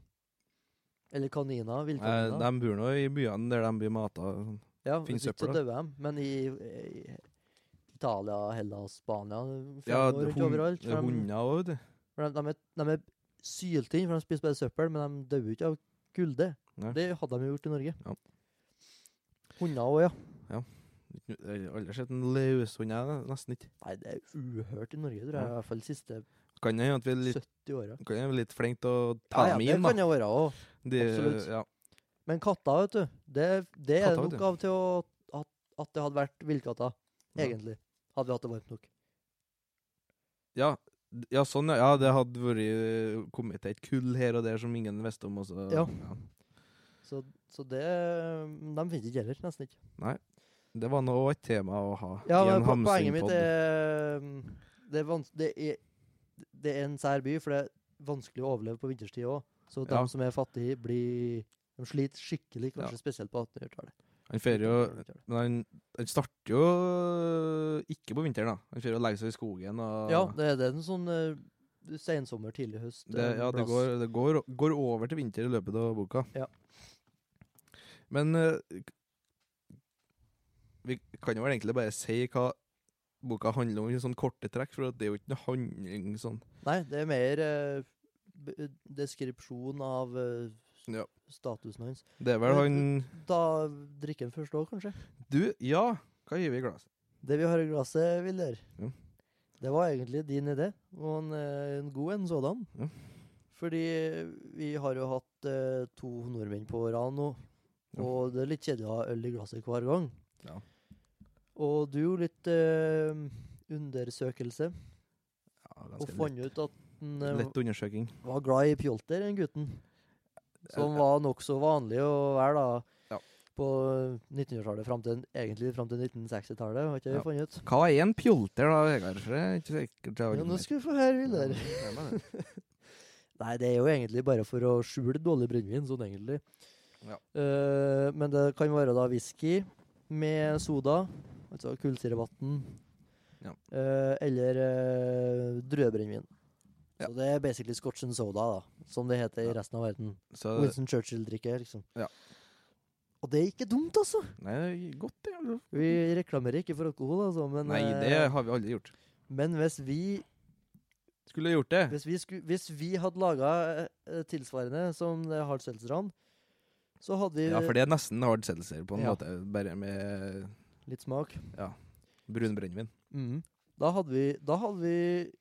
[SPEAKER 3] Eller kaniner.
[SPEAKER 2] Eh,
[SPEAKER 3] Villkaniner.
[SPEAKER 2] de bor nå i byene der de blir sånn. mata.
[SPEAKER 3] Ja,
[SPEAKER 2] Finn
[SPEAKER 3] hvis ikke
[SPEAKER 2] søppel,
[SPEAKER 3] så dør de. Men i, i Italia, Hellas, Spania
[SPEAKER 2] Ja,
[SPEAKER 3] fremgår rundt
[SPEAKER 2] hund- det
[SPEAKER 3] overalt.
[SPEAKER 2] er
[SPEAKER 3] For de,
[SPEAKER 2] hunder òg, vet du.
[SPEAKER 3] for de, de, er, de er sylte inn, for de spiser bare søppel, men de dør jo ikke av kulde.
[SPEAKER 2] Nei.
[SPEAKER 3] Det hadde de jo gjort i Norge.
[SPEAKER 2] Ja.
[SPEAKER 3] Hunder òg, ja.
[SPEAKER 2] Jeg har Aldri sett en løshund, jeg. Nesten ikke.
[SPEAKER 3] Nei, det er uhørt i Norge, tror jeg.
[SPEAKER 2] Ja.
[SPEAKER 3] I hvert fall de siste
[SPEAKER 2] Kan hende at vi er litt,
[SPEAKER 3] 70 åra.
[SPEAKER 2] kan hende vi er litt flinke til å
[SPEAKER 3] Ja,
[SPEAKER 2] ta
[SPEAKER 3] ja,
[SPEAKER 2] dem
[SPEAKER 3] det
[SPEAKER 2] inn,
[SPEAKER 3] kan
[SPEAKER 2] da.
[SPEAKER 3] det være òg.
[SPEAKER 2] De,
[SPEAKER 3] absolutt.
[SPEAKER 2] Ja.
[SPEAKER 3] Men katter, vet du, det, det er
[SPEAKER 2] Katter, vet
[SPEAKER 3] nok
[SPEAKER 2] du.
[SPEAKER 3] av til å, at, at det hadde vært villkatter,
[SPEAKER 2] Ja.
[SPEAKER 3] egentlig. Hadde vi hatt det varmt nok.
[SPEAKER 2] ja. Ja, sånn, ja. ja det hadde vært eh, kommet til et kull her og der som ingen visste om. Også.
[SPEAKER 3] Ja. Så, så det De finnes ikke heller, nesten ikke.
[SPEAKER 2] Det var nå også et tema å ha
[SPEAKER 3] Ja,
[SPEAKER 2] i
[SPEAKER 3] men
[SPEAKER 2] en
[SPEAKER 3] po- poenget mitt
[SPEAKER 2] Hamsun-podd.
[SPEAKER 3] er det er, vans det, er, det er en sær by, for det er vanskelig å overleve på vinterstid òg. Så de
[SPEAKER 2] Ja.
[SPEAKER 3] som er fattige, blir De sliter skikkelig,
[SPEAKER 2] Ja.
[SPEAKER 3] kanskje spesielt på 1800-tallet.
[SPEAKER 2] Han fer jo
[SPEAKER 3] 1800-tallet.
[SPEAKER 2] Men han, han starter jo øh, ikke på vinteren, da. Han fer jo og legger seg i skogen og
[SPEAKER 3] Ja, det, det er en sånn eh, sensommer, tidlig høst.
[SPEAKER 2] Det,
[SPEAKER 3] eh,
[SPEAKER 2] ja, det,
[SPEAKER 3] plass.
[SPEAKER 2] går, det går, går over til vinter i løpet av boka.
[SPEAKER 3] Ja.
[SPEAKER 2] Men eh, k- vi kan jo vel egentlig bare si hva boka handler om i sånn korte trekk, for at det er jo ikke noe handling sånn.
[SPEAKER 3] Nei, det er mer eh, b- deskripsjon av eh, s-
[SPEAKER 2] Ja.
[SPEAKER 3] statusen hans.
[SPEAKER 2] Det er vel
[SPEAKER 3] Men-
[SPEAKER 2] han
[SPEAKER 3] Da drikker han først òg, kanskje.
[SPEAKER 2] Du, ja! Hva gir vi i glasset?
[SPEAKER 3] Det vi har i glasset, Vilder,
[SPEAKER 2] Ja.
[SPEAKER 3] det var egentlig din idé, og en, eh, en god en sådan.
[SPEAKER 2] Ja.
[SPEAKER 3] Fordi eh, vi har jo hatt eh, to nordmenn på rad nå,
[SPEAKER 2] Ja.
[SPEAKER 3] og det er litt kjedelig å ha øl i glasset hver gang.
[SPEAKER 2] Ja.
[SPEAKER 3] Og du gjorde litt eh, undersøkelse,
[SPEAKER 2] Ja,
[SPEAKER 3] og
[SPEAKER 2] ganske
[SPEAKER 3] fant ut at han eh,
[SPEAKER 2] lett undersøking. Eh,
[SPEAKER 3] var glad i pjolter, den gutten. Som var nokså vanlig å være da.
[SPEAKER 2] Ja.
[SPEAKER 3] På 1900-tallet, fram til, egentlig fram til 1960-tallet, har ikke jeg
[SPEAKER 2] Ja.
[SPEAKER 3] funnet ut.
[SPEAKER 2] Hva er en pjolter, da, Vegard? For det er ikke sikkert jeg har
[SPEAKER 3] Ja, nå
[SPEAKER 2] vært
[SPEAKER 3] skal vi få høre,
[SPEAKER 2] med.
[SPEAKER 3] Vilder.
[SPEAKER 2] Ja, det er det.
[SPEAKER 3] Nei, det er jo egentlig bare for å skjule dårlig brennevin, sånn egentlig.
[SPEAKER 2] Ja.
[SPEAKER 3] Eh, men det kan være da whisky med soda, altså kullsyrevann,
[SPEAKER 2] Ja.
[SPEAKER 3] eh, eller eh, druebrennevin.
[SPEAKER 2] Ja.
[SPEAKER 3] Så det er basically scotch and soda, da, som det heter
[SPEAKER 2] Ja.
[SPEAKER 3] i resten av verden.
[SPEAKER 2] Så det-
[SPEAKER 3] Winston Churchill-drikke, liksom.
[SPEAKER 2] Ja.
[SPEAKER 3] Og det er ikke dumt, altså!
[SPEAKER 2] Nei, det er godt, det. altså.
[SPEAKER 3] Vi reklamerer ikke for alkohol, altså, men
[SPEAKER 2] Nei,
[SPEAKER 3] eh,
[SPEAKER 2] det har vi aldri gjort.
[SPEAKER 3] Men hvis vi
[SPEAKER 2] Skulle gjort det.
[SPEAKER 3] Hvis vi, sku, hvis vi hadde laga tilsvarende som det Hard Seltzer-ran, så hadde vi
[SPEAKER 2] Ja, for det er nesten hard seltzer på en
[SPEAKER 3] Ja.
[SPEAKER 2] måte, bare med
[SPEAKER 3] litt smak. Mm.
[SPEAKER 2] brun brennevin.
[SPEAKER 3] Da hadde vi Da hadde vi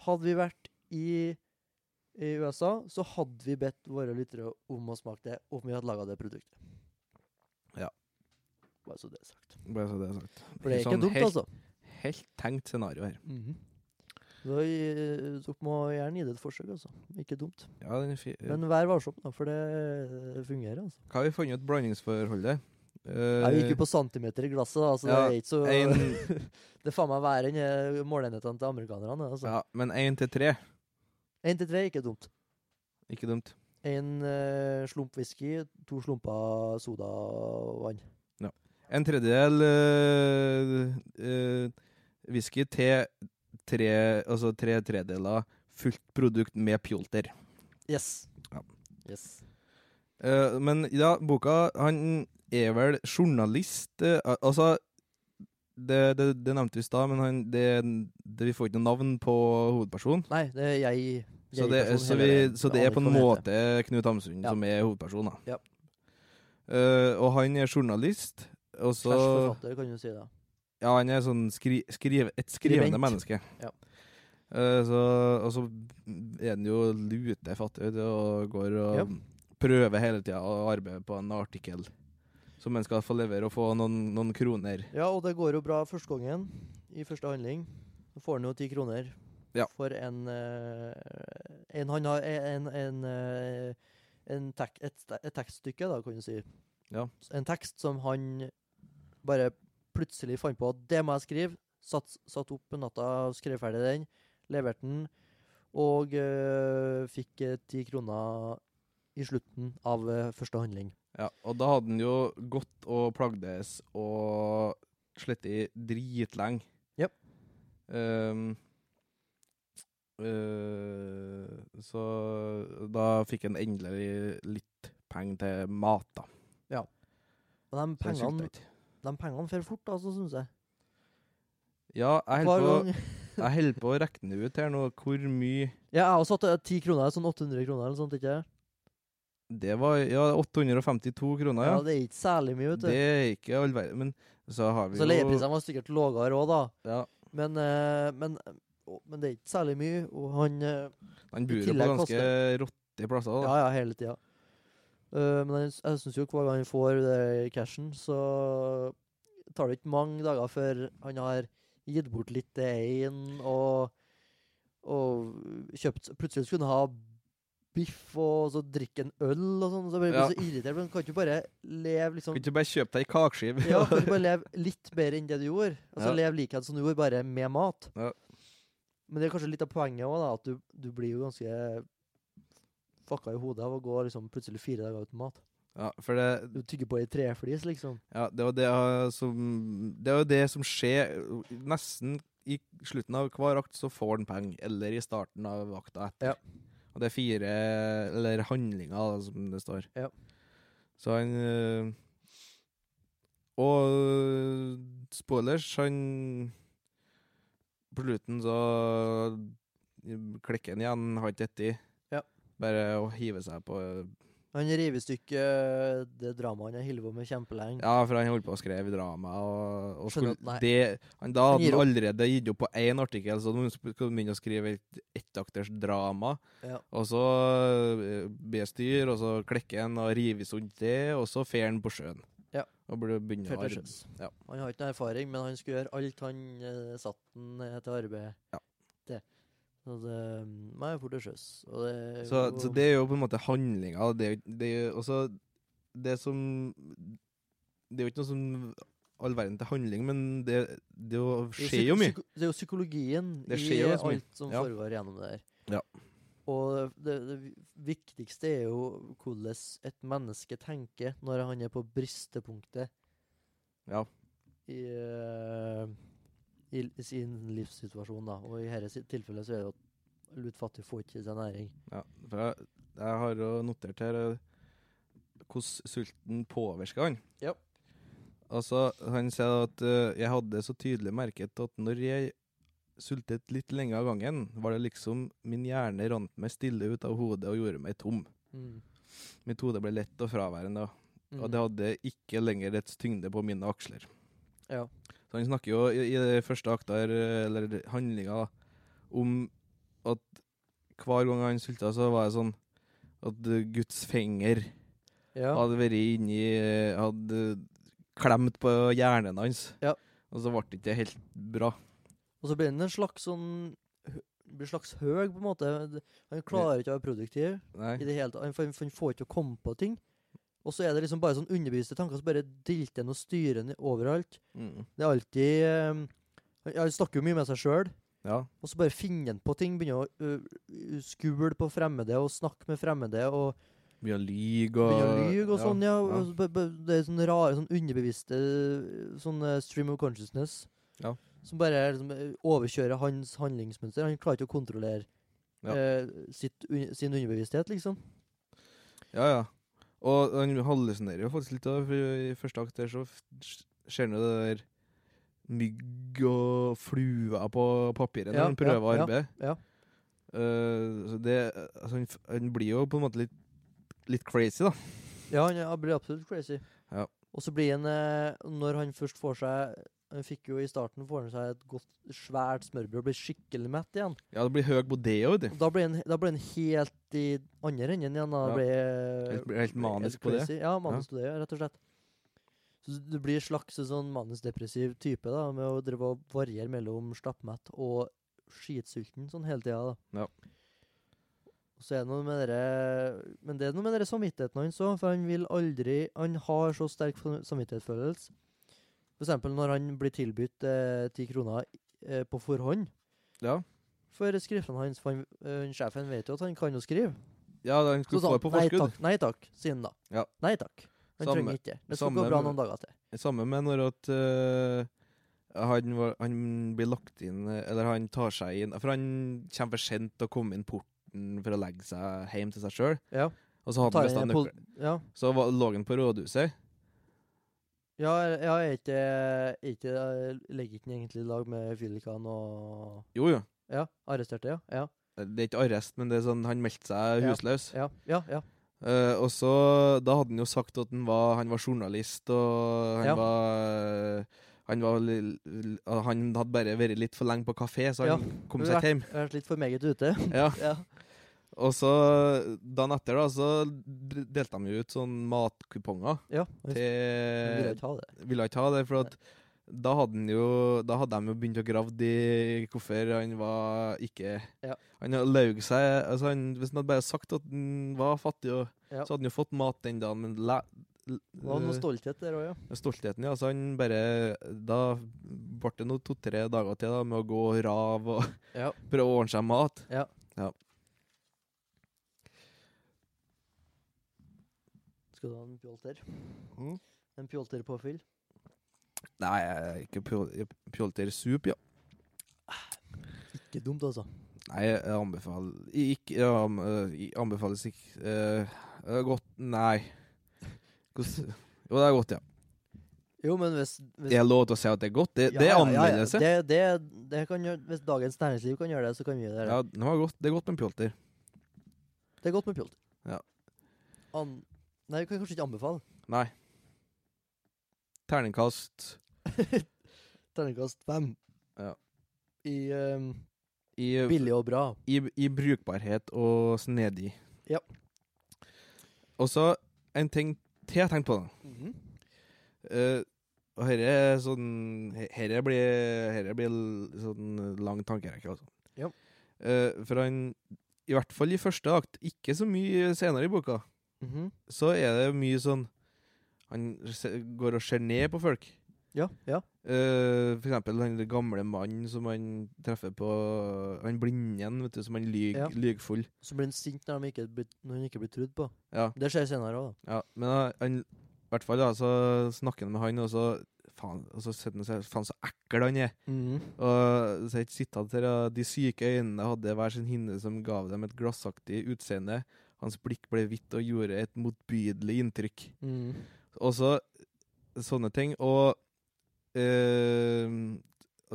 [SPEAKER 3] Hadde vi vært i, i USA, så hadde vi bedt våre lyttere om å smake det, om vi hadde laga det produktet.
[SPEAKER 2] Ja.
[SPEAKER 3] Bare så det er sagt.
[SPEAKER 2] Bare så det er sagt.
[SPEAKER 3] For det er ikke
[SPEAKER 2] Sånn
[SPEAKER 3] dumt,
[SPEAKER 2] helt,
[SPEAKER 3] altså. Mm-hmm.
[SPEAKER 2] Helt tenkt scenario her.
[SPEAKER 3] Så eh, Dere må gjerne gi det et forsøk, altså. Ikke dumt.
[SPEAKER 2] Ja, den er fi
[SPEAKER 3] Men vær varsom, da, for det eh, fungerer, altså.
[SPEAKER 2] Hva har vi funnet ut blandingsforholdet? Uh,
[SPEAKER 3] Jeg gikk jo på centimeter i glasset, da, så
[SPEAKER 2] ja,
[SPEAKER 3] det er ikke så
[SPEAKER 2] Eh, en,
[SPEAKER 3] Det er faen meg verre enn eh, måleenhetene til amerikanerne. det, Altså.
[SPEAKER 2] ja, Men én til tre.
[SPEAKER 3] Én til tre er ikke dumt.
[SPEAKER 2] Ikke dumt.
[SPEAKER 3] Én eh, slump whisky, to slumper soda og vann.
[SPEAKER 2] En tredjedel eh, eh, whisky til tre Altså tre tredeler fullt produkt med pjolter.
[SPEAKER 3] Yes.
[SPEAKER 2] Ja.
[SPEAKER 3] yes.
[SPEAKER 2] Eh, men ja, boka Han er vel journalist eh, al- Altså det, det, det nevnte vi i stad, men han, det, det, vi får ikke noe navn på hovedpersonen.
[SPEAKER 3] Nei, det er jeg.
[SPEAKER 2] Så det,
[SPEAKER 3] jeg-personen
[SPEAKER 2] så
[SPEAKER 3] hele
[SPEAKER 2] vi,
[SPEAKER 3] veien.
[SPEAKER 2] så det
[SPEAKER 3] Jeg
[SPEAKER 2] er
[SPEAKER 3] aner
[SPEAKER 2] på en
[SPEAKER 3] ikke hva det heter.
[SPEAKER 2] måte Knut Hamsun
[SPEAKER 3] Ja.
[SPEAKER 2] som er hovedpersonen. da.
[SPEAKER 3] Ja.
[SPEAKER 2] Eh, og han er journalist, og så
[SPEAKER 3] Slash forfatter, kan du si. da.
[SPEAKER 2] Ja, han er sånn skri, skrive, et skrivende
[SPEAKER 3] Skribent.
[SPEAKER 2] menneske.
[SPEAKER 3] Ja.
[SPEAKER 2] Eh, så, og så er han jo lutefattig vet du, og går og
[SPEAKER 3] Ja.
[SPEAKER 2] prøver hele tida å arbeide på en artikkel som han skal få levere og få noen, noen kroner.
[SPEAKER 3] Ja, og det går jo bra første gangen. I første handling. Så får han jo ti kroner
[SPEAKER 2] Ja.
[SPEAKER 3] for en, eh, en Han har en, en, eh, en tek, et, st- et tekststykke, da, kan du si.
[SPEAKER 2] Ja.
[SPEAKER 3] S- En tekst som han bare plutselig fant på at det må jeg skrive. Satt, satt opp på natta, skrev ferdig den, leverte den, og eh, fikk eh, ti kroner i slutten av eh, første handling.
[SPEAKER 2] Ja, og da hadde han jo gått og plagdes og slettet dritlenge.
[SPEAKER 3] Japp.
[SPEAKER 2] Ehm, eh, så da fikk han endelig litt penger til mat, da.
[SPEAKER 3] Men de
[SPEAKER 2] Så han
[SPEAKER 3] pengene,
[SPEAKER 2] sulta ikke.
[SPEAKER 3] de pengene fer fort, altså, syns jeg.
[SPEAKER 2] Ja, jeg
[SPEAKER 3] Hver
[SPEAKER 2] holder på,
[SPEAKER 3] gang
[SPEAKER 2] jeg holder på å regne ut her nå hvor mye
[SPEAKER 3] Ja, jeg har også hatt ti kroner, sånn 800 kroner eller sånt, ikke?
[SPEAKER 2] Det var ja, 852 kroner,
[SPEAKER 3] Ja,
[SPEAKER 2] ja.
[SPEAKER 3] det er ikke særlig mye, vet
[SPEAKER 2] det
[SPEAKER 3] du.
[SPEAKER 2] er ikke all verden. Men så har vi
[SPEAKER 3] Så
[SPEAKER 2] jo
[SPEAKER 3] leieprisene var sikkert lavere òg, da.
[SPEAKER 2] ja,
[SPEAKER 3] Men, eh, men, å, men det er ikke særlig mye. Og han eh,
[SPEAKER 2] Han bor jo på
[SPEAKER 3] tillegg
[SPEAKER 2] ganske rotte plasser, da.
[SPEAKER 3] Ja, ja, hele tida. Eh, men jeg, jeg syns jo hver gang han får det cashen, så tar det ikke mange dager før han har gitt bort litt til en, og Og kjøpt Plutselig skulle han ha biff og så drikke en øl og sånn. Så jeg ble
[SPEAKER 2] Ja.
[SPEAKER 3] så irritert. Men kan ikke du bare leve liksom
[SPEAKER 2] Kan ikke du bare kjøpe deg ei kakeskive?
[SPEAKER 3] ja, kan ikke bare leve litt bedre enn det du gjorde?
[SPEAKER 2] Ja.
[SPEAKER 3] Altså Leve likeens som du gjorde, bare med mat.
[SPEAKER 2] Ja.
[SPEAKER 3] Men det er kanskje litt av poenget òg, at du, du blir jo ganske fucka i hodet av å gå liksom plutselig fire dager uten mat.
[SPEAKER 2] ja, for det,
[SPEAKER 3] Du tygger på ei treflis, liksom.
[SPEAKER 2] Ja, det var det eh, som Det er jo det som skjer nesten i slutten av hver akt, så får han penger. Eller i starten av akta etter.
[SPEAKER 3] Ja.
[SPEAKER 2] Og det er fire Eller handlinger, da, som det står.
[SPEAKER 3] Ja.
[SPEAKER 2] Så han eh, Og eh, spoilers, han På slutten så eh, klikker han igjen, har ikke dette i.
[SPEAKER 3] Ja.
[SPEAKER 2] Bare å hive seg på eh,
[SPEAKER 3] Han river i stykker det dramaet han har holdt på med kjempelenge.
[SPEAKER 2] Ja, for han holdt på å skrive drama, og, og
[SPEAKER 3] Skjønner
[SPEAKER 2] skulle,
[SPEAKER 3] at nei.
[SPEAKER 2] det, han, da
[SPEAKER 3] Han
[SPEAKER 2] hadde
[SPEAKER 3] gir
[SPEAKER 2] han
[SPEAKER 3] opp.
[SPEAKER 2] allerede gitt opp på én artikkel, så nå skulle han begynne å skrive et ettakters drama.
[SPEAKER 3] Ja.
[SPEAKER 2] Og så eh, blir det styr, og så klekker han og river sunt det, og så fer han på sjøen.
[SPEAKER 3] Ja.
[SPEAKER 2] Og burde begynne å
[SPEAKER 3] Før til
[SPEAKER 2] arbeide.
[SPEAKER 3] sjøs.
[SPEAKER 2] Ja.
[SPEAKER 3] Han har ikke noe erfaring, men han skulle gjøre alt han eh, satt den eh, til arbeid
[SPEAKER 2] Ja.
[SPEAKER 3] til. Så det mm, Nei, for til sjøs. Og det er
[SPEAKER 2] Så,
[SPEAKER 3] jo-
[SPEAKER 2] så det er jo på en måte handlinga. Det, er jo- det, er jo- også det som Det er jo ikke noe som all verden til handling, men det, det jo
[SPEAKER 3] det er
[SPEAKER 2] skjer jo
[SPEAKER 3] psyko-
[SPEAKER 2] mye.
[SPEAKER 3] psyko- Det er jo psykologien
[SPEAKER 2] Det skjer jo
[SPEAKER 3] i
[SPEAKER 2] ganske mye.
[SPEAKER 3] alt som
[SPEAKER 2] Ja.
[SPEAKER 3] foregår gjennom det der.
[SPEAKER 2] Ja.
[SPEAKER 3] Og det, det viktigste er jo hvordan et menneske tenker når han er på bristepunktet
[SPEAKER 2] Ja.
[SPEAKER 3] i, eh, i, l- sin livssituasjon, da. Og i dette tilfellet så er det jo at lut fattig får ikke i seg næring.
[SPEAKER 2] Ja, for jeg, jeg har jo notert her eh, hvordan sulten påvirker han.
[SPEAKER 3] Ja.
[SPEAKER 2] Altså, han sier at eh, jeg hadde så tydelig merket at når jeg sultet litt lenge av gangen, var det liksom min hjerne rant meg stille ut av hodet og gjorde meg tom.
[SPEAKER 3] Mm.
[SPEAKER 2] Mitt hode ble lett og fraværende, og
[SPEAKER 3] Mm.
[SPEAKER 2] det hadde ikke lenger dets tyngde på mine aksler.
[SPEAKER 3] Ja.
[SPEAKER 2] Så han snakker jo i, i det første akta her, eller handlinga, da, om at hver gang han sulta, så var det sånn at eh, Guds finger
[SPEAKER 3] Ja.
[SPEAKER 2] hadde vært inni eh, Hadde klemt på hjernen hans.
[SPEAKER 3] Ja.
[SPEAKER 2] Og så ble det ikke helt bra.
[SPEAKER 3] Og så blir han en slags sånn hø- blir slags høg, på en måte. Det- Han klarer ikke å være produktiv
[SPEAKER 2] Nei.
[SPEAKER 3] i det hele tatt. Han, får- han får ikke å komme på ting. Og så er det liksom bare sånn underbevisste tanker, så bare dilter han og styrer han overalt.
[SPEAKER 2] Mm.
[SPEAKER 3] Det er alltid eh, han- Han snakker jo mye med seg sjøl,
[SPEAKER 2] Ja.
[SPEAKER 3] og så bare finner han på ting. Begynner å ø, ø, skule på fremmede og snakke med fremmede og
[SPEAKER 2] Begynner å lyge og
[SPEAKER 3] begynner å lyve og sånn, ja.
[SPEAKER 2] ja.
[SPEAKER 3] og så bare- bare- Det er sånne rare, sånn underbevisste ø, sånne stream of consciousness
[SPEAKER 2] Ja.
[SPEAKER 3] som bare liksom, ø, overkjører hans handlingsmønster. Han klarer ikke å kontrollere
[SPEAKER 2] Ja.
[SPEAKER 3] eh, sitt, un, sin underbevissthet, liksom.
[SPEAKER 2] Ja, ja. Og han hallusinerer jo faktisk litt, da, for i første akt der så f- ser han jo det der mygg og fluer på papiret når
[SPEAKER 3] Ja,
[SPEAKER 2] han prøver å
[SPEAKER 3] ja, ja,
[SPEAKER 2] arbeide.
[SPEAKER 3] ja.
[SPEAKER 2] Eh, så det altså, han, f- han blir jo på en måte litt, litt crazy, da.
[SPEAKER 3] Ja, han er- blir absolutt crazy.
[SPEAKER 2] Ja.
[SPEAKER 3] Og så blir han eh, Når han først får seg Han fikk jo i starten får han seg et godt, svært smørbrød og blir skikkelig mett igjen.
[SPEAKER 2] Ja, det blir høy bodeo, vet du.
[SPEAKER 3] Og Da blir han, da blir han helt i andre enden igjen. Da
[SPEAKER 2] Ja.
[SPEAKER 3] blir,
[SPEAKER 2] Helt- blir helt manisk på det.
[SPEAKER 3] crazy. Ja, manisk på det, ja, rett og slett. Så du blir en slags sånn manisk-depressiv type da, med å drive og variere mellom stappmett og skitsulten sånn hele tida. da.
[SPEAKER 2] Ja.
[SPEAKER 3] Og Så er det noe med dere, men det er noe med dere samvittigheten hans òg, for han vil aldri Han har så sterk sam- samvittighetsfølelse. For eksempel når han blir tilbudt ti kroner eh, på forhånd
[SPEAKER 2] Ja,
[SPEAKER 3] for skriftene hans. For han, øh, sjefen vet jo at han kan jo skrive.
[SPEAKER 2] ja da, han
[SPEAKER 3] Så
[SPEAKER 2] skulle
[SPEAKER 3] sa
[SPEAKER 2] få
[SPEAKER 3] han
[SPEAKER 2] det på
[SPEAKER 3] Sånn, nei
[SPEAKER 2] forskudd.
[SPEAKER 3] takk, nei takk, sier han da.
[SPEAKER 2] Ja.
[SPEAKER 3] Nei takk. Han
[SPEAKER 2] Samme-
[SPEAKER 3] trenger ikke. Det skal
[SPEAKER 2] samme
[SPEAKER 3] gå bra
[SPEAKER 2] med-
[SPEAKER 3] noen dager til.
[SPEAKER 2] Samme med når at eh, han, var, han blir lagt inn eh, Eller han tar seg inn For han kommer for sent til å komme inn porten for å legge seg hjem til seg sjøl.
[SPEAKER 3] Ja.
[SPEAKER 2] Og så hadde
[SPEAKER 3] Tar
[SPEAKER 2] han mista
[SPEAKER 3] inn en
[SPEAKER 2] nøkkelen.
[SPEAKER 3] pol- ja.
[SPEAKER 2] Så var, lå han på rådhuset.
[SPEAKER 3] Ja, ja, er ikke, er ikke Legger ikke han egentlig i lag med Fyllikan og
[SPEAKER 2] Jo, jo.
[SPEAKER 3] Ja, arresterte, ja. Ja,
[SPEAKER 2] Det er ikke arrest, men det er sånn, han meldte seg
[SPEAKER 3] Ja.
[SPEAKER 2] husløs.
[SPEAKER 3] ja. ja, ja.
[SPEAKER 2] Eh, og så, Da hadde han jo sagt at han var, han var journalist, og han
[SPEAKER 3] Ja.
[SPEAKER 2] var han, var, li- li- han hadde bare vært litt for lenge på kafé, så han kom seg ikke hjem.
[SPEAKER 3] Jeg har vært litt for meget ute.
[SPEAKER 2] Ja.
[SPEAKER 3] Ja.
[SPEAKER 2] Og så dagen etter da, så d- delte de jo ut sånn matkuponger
[SPEAKER 3] ja. Jeg
[SPEAKER 2] til eh,
[SPEAKER 3] ville ikke ha det.
[SPEAKER 2] Ville ikke ha det, for at da hadde, han jo, da hadde de jo begynt å grave i hvorfor han var ikke
[SPEAKER 3] Ja.
[SPEAKER 2] Han hadde laug seg. Altså han, hvis han hadde bare sagt at han var fattig, og,
[SPEAKER 3] Ja.
[SPEAKER 2] så hadde han jo fått mat den dagen. Men læ, l-
[SPEAKER 3] Det var noe
[SPEAKER 2] eh,
[SPEAKER 3] stolthet der òg, ja.
[SPEAKER 2] stoltheten, ja. Så han bare Da ble det noe to-tre dager til da, med å gå og rave og
[SPEAKER 3] Ja.
[SPEAKER 2] prøve å ordne seg mat.
[SPEAKER 3] Ja.
[SPEAKER 2] Ja.
[SPEAKER 3] Skal du ha en pjolter?
[SPEAKER 2] Mm.
[SPEAKER 3] En pjolterpåfyll?
[SPEAKER 2] Nei, jeg er ikke pjol- pjoltersup, ja.
[SPEAKER 3] Ikke dumt, altså.
[SPEAKER 2] Nei, jeg anbefaler ikke jeg am- øh, jeg Anbefales ikke Eh, det er Godt Nei. Hvordan Jo, det er godt, ja.
[SPEAKER 3] Jo, men hvis, hvis
[SPEAKER 2] Er det lov til å si at det er godt? Det,
[SPEAKER 3] Ja,
[SPEAKER 2] det er
[SPEAKER 3] ja, ja, ja.
[SPEAKER 2] anvendelse. Ja,
[SPEAKER 3] Det, det, det kan gjøre, hvis Dagens Næringsliv kan gjøre det, så kan vi gjøre det.
[SPEAKER 2] det var godt. Det er godt med pjolter.
[SPEAKER 3] Det er godt med pjolter.
[SPEAKER 2] Ja.
[SPEAKER 3] An Nei, vi kan kanskje ikke anbefale.
[SPEAKER 2] Nei. Terningkast
[SPEAKER 3] Terningkast fem.
[SPEAKER 2] Ja.
[SPEAKER 3] I ehm,
[SPEAKER 2] i,
[SPEAKER 3] billig og bra.
[SPEAKER 2] i, i brukbarhet og snedig.
[SPEAKER 3] Ja.
[SPEAKER 2] Og så en ting til jeg tenkte på. da.
[SPEAKER 3] Mhm.
[SPEAKER 2] Eh, og herre er sånn he- Herre blir, herre blir l- sånn lang tankerekke, altså.
[SPEAKER 3] Ja.
[SPEAKER 2] Eh, for han I hvert fall i første akt, ikke så mye senere i boka,
[SPEAKER 3] Mhm.
[SPEAKER 2] så er det mye sånn Han se- går og ser ned på folk.
[SPEAKER 3] Ja. ja.
[SPEAKER 2] Eh, for eksempel den gamle mannen som han treffer på Han blinden, vet du, som han lyg,
[SPEAKER 3] Ja.
[SPEAKER 2] lygfull.
[SPEAKER 3] Så blir han sint når, de ikke blir, når han ikke blir trudd på.
[SPEAKER 2] Ja.
[SPEAKER 3] Det skjer senere òg, da.
[SPEAKER 2] Ja, men da, han, i hvert fall da, så snakker han med han, og så Faen, og så sitter han og sier Faen, så ekkel han er.
[SPEAKER 3] Mhm.
[SPEAKER 2] Og så er ikke sitat her, ja. De syke øynene hadde hver sin hinne som gav dem et glassaktig utseende. Hans blikk ble hvitt og gjorde et motbydelig inntrykk.
[SPEAKER 3] Mhm.
[SPEAKER 2] Også sånne ting. Og eh,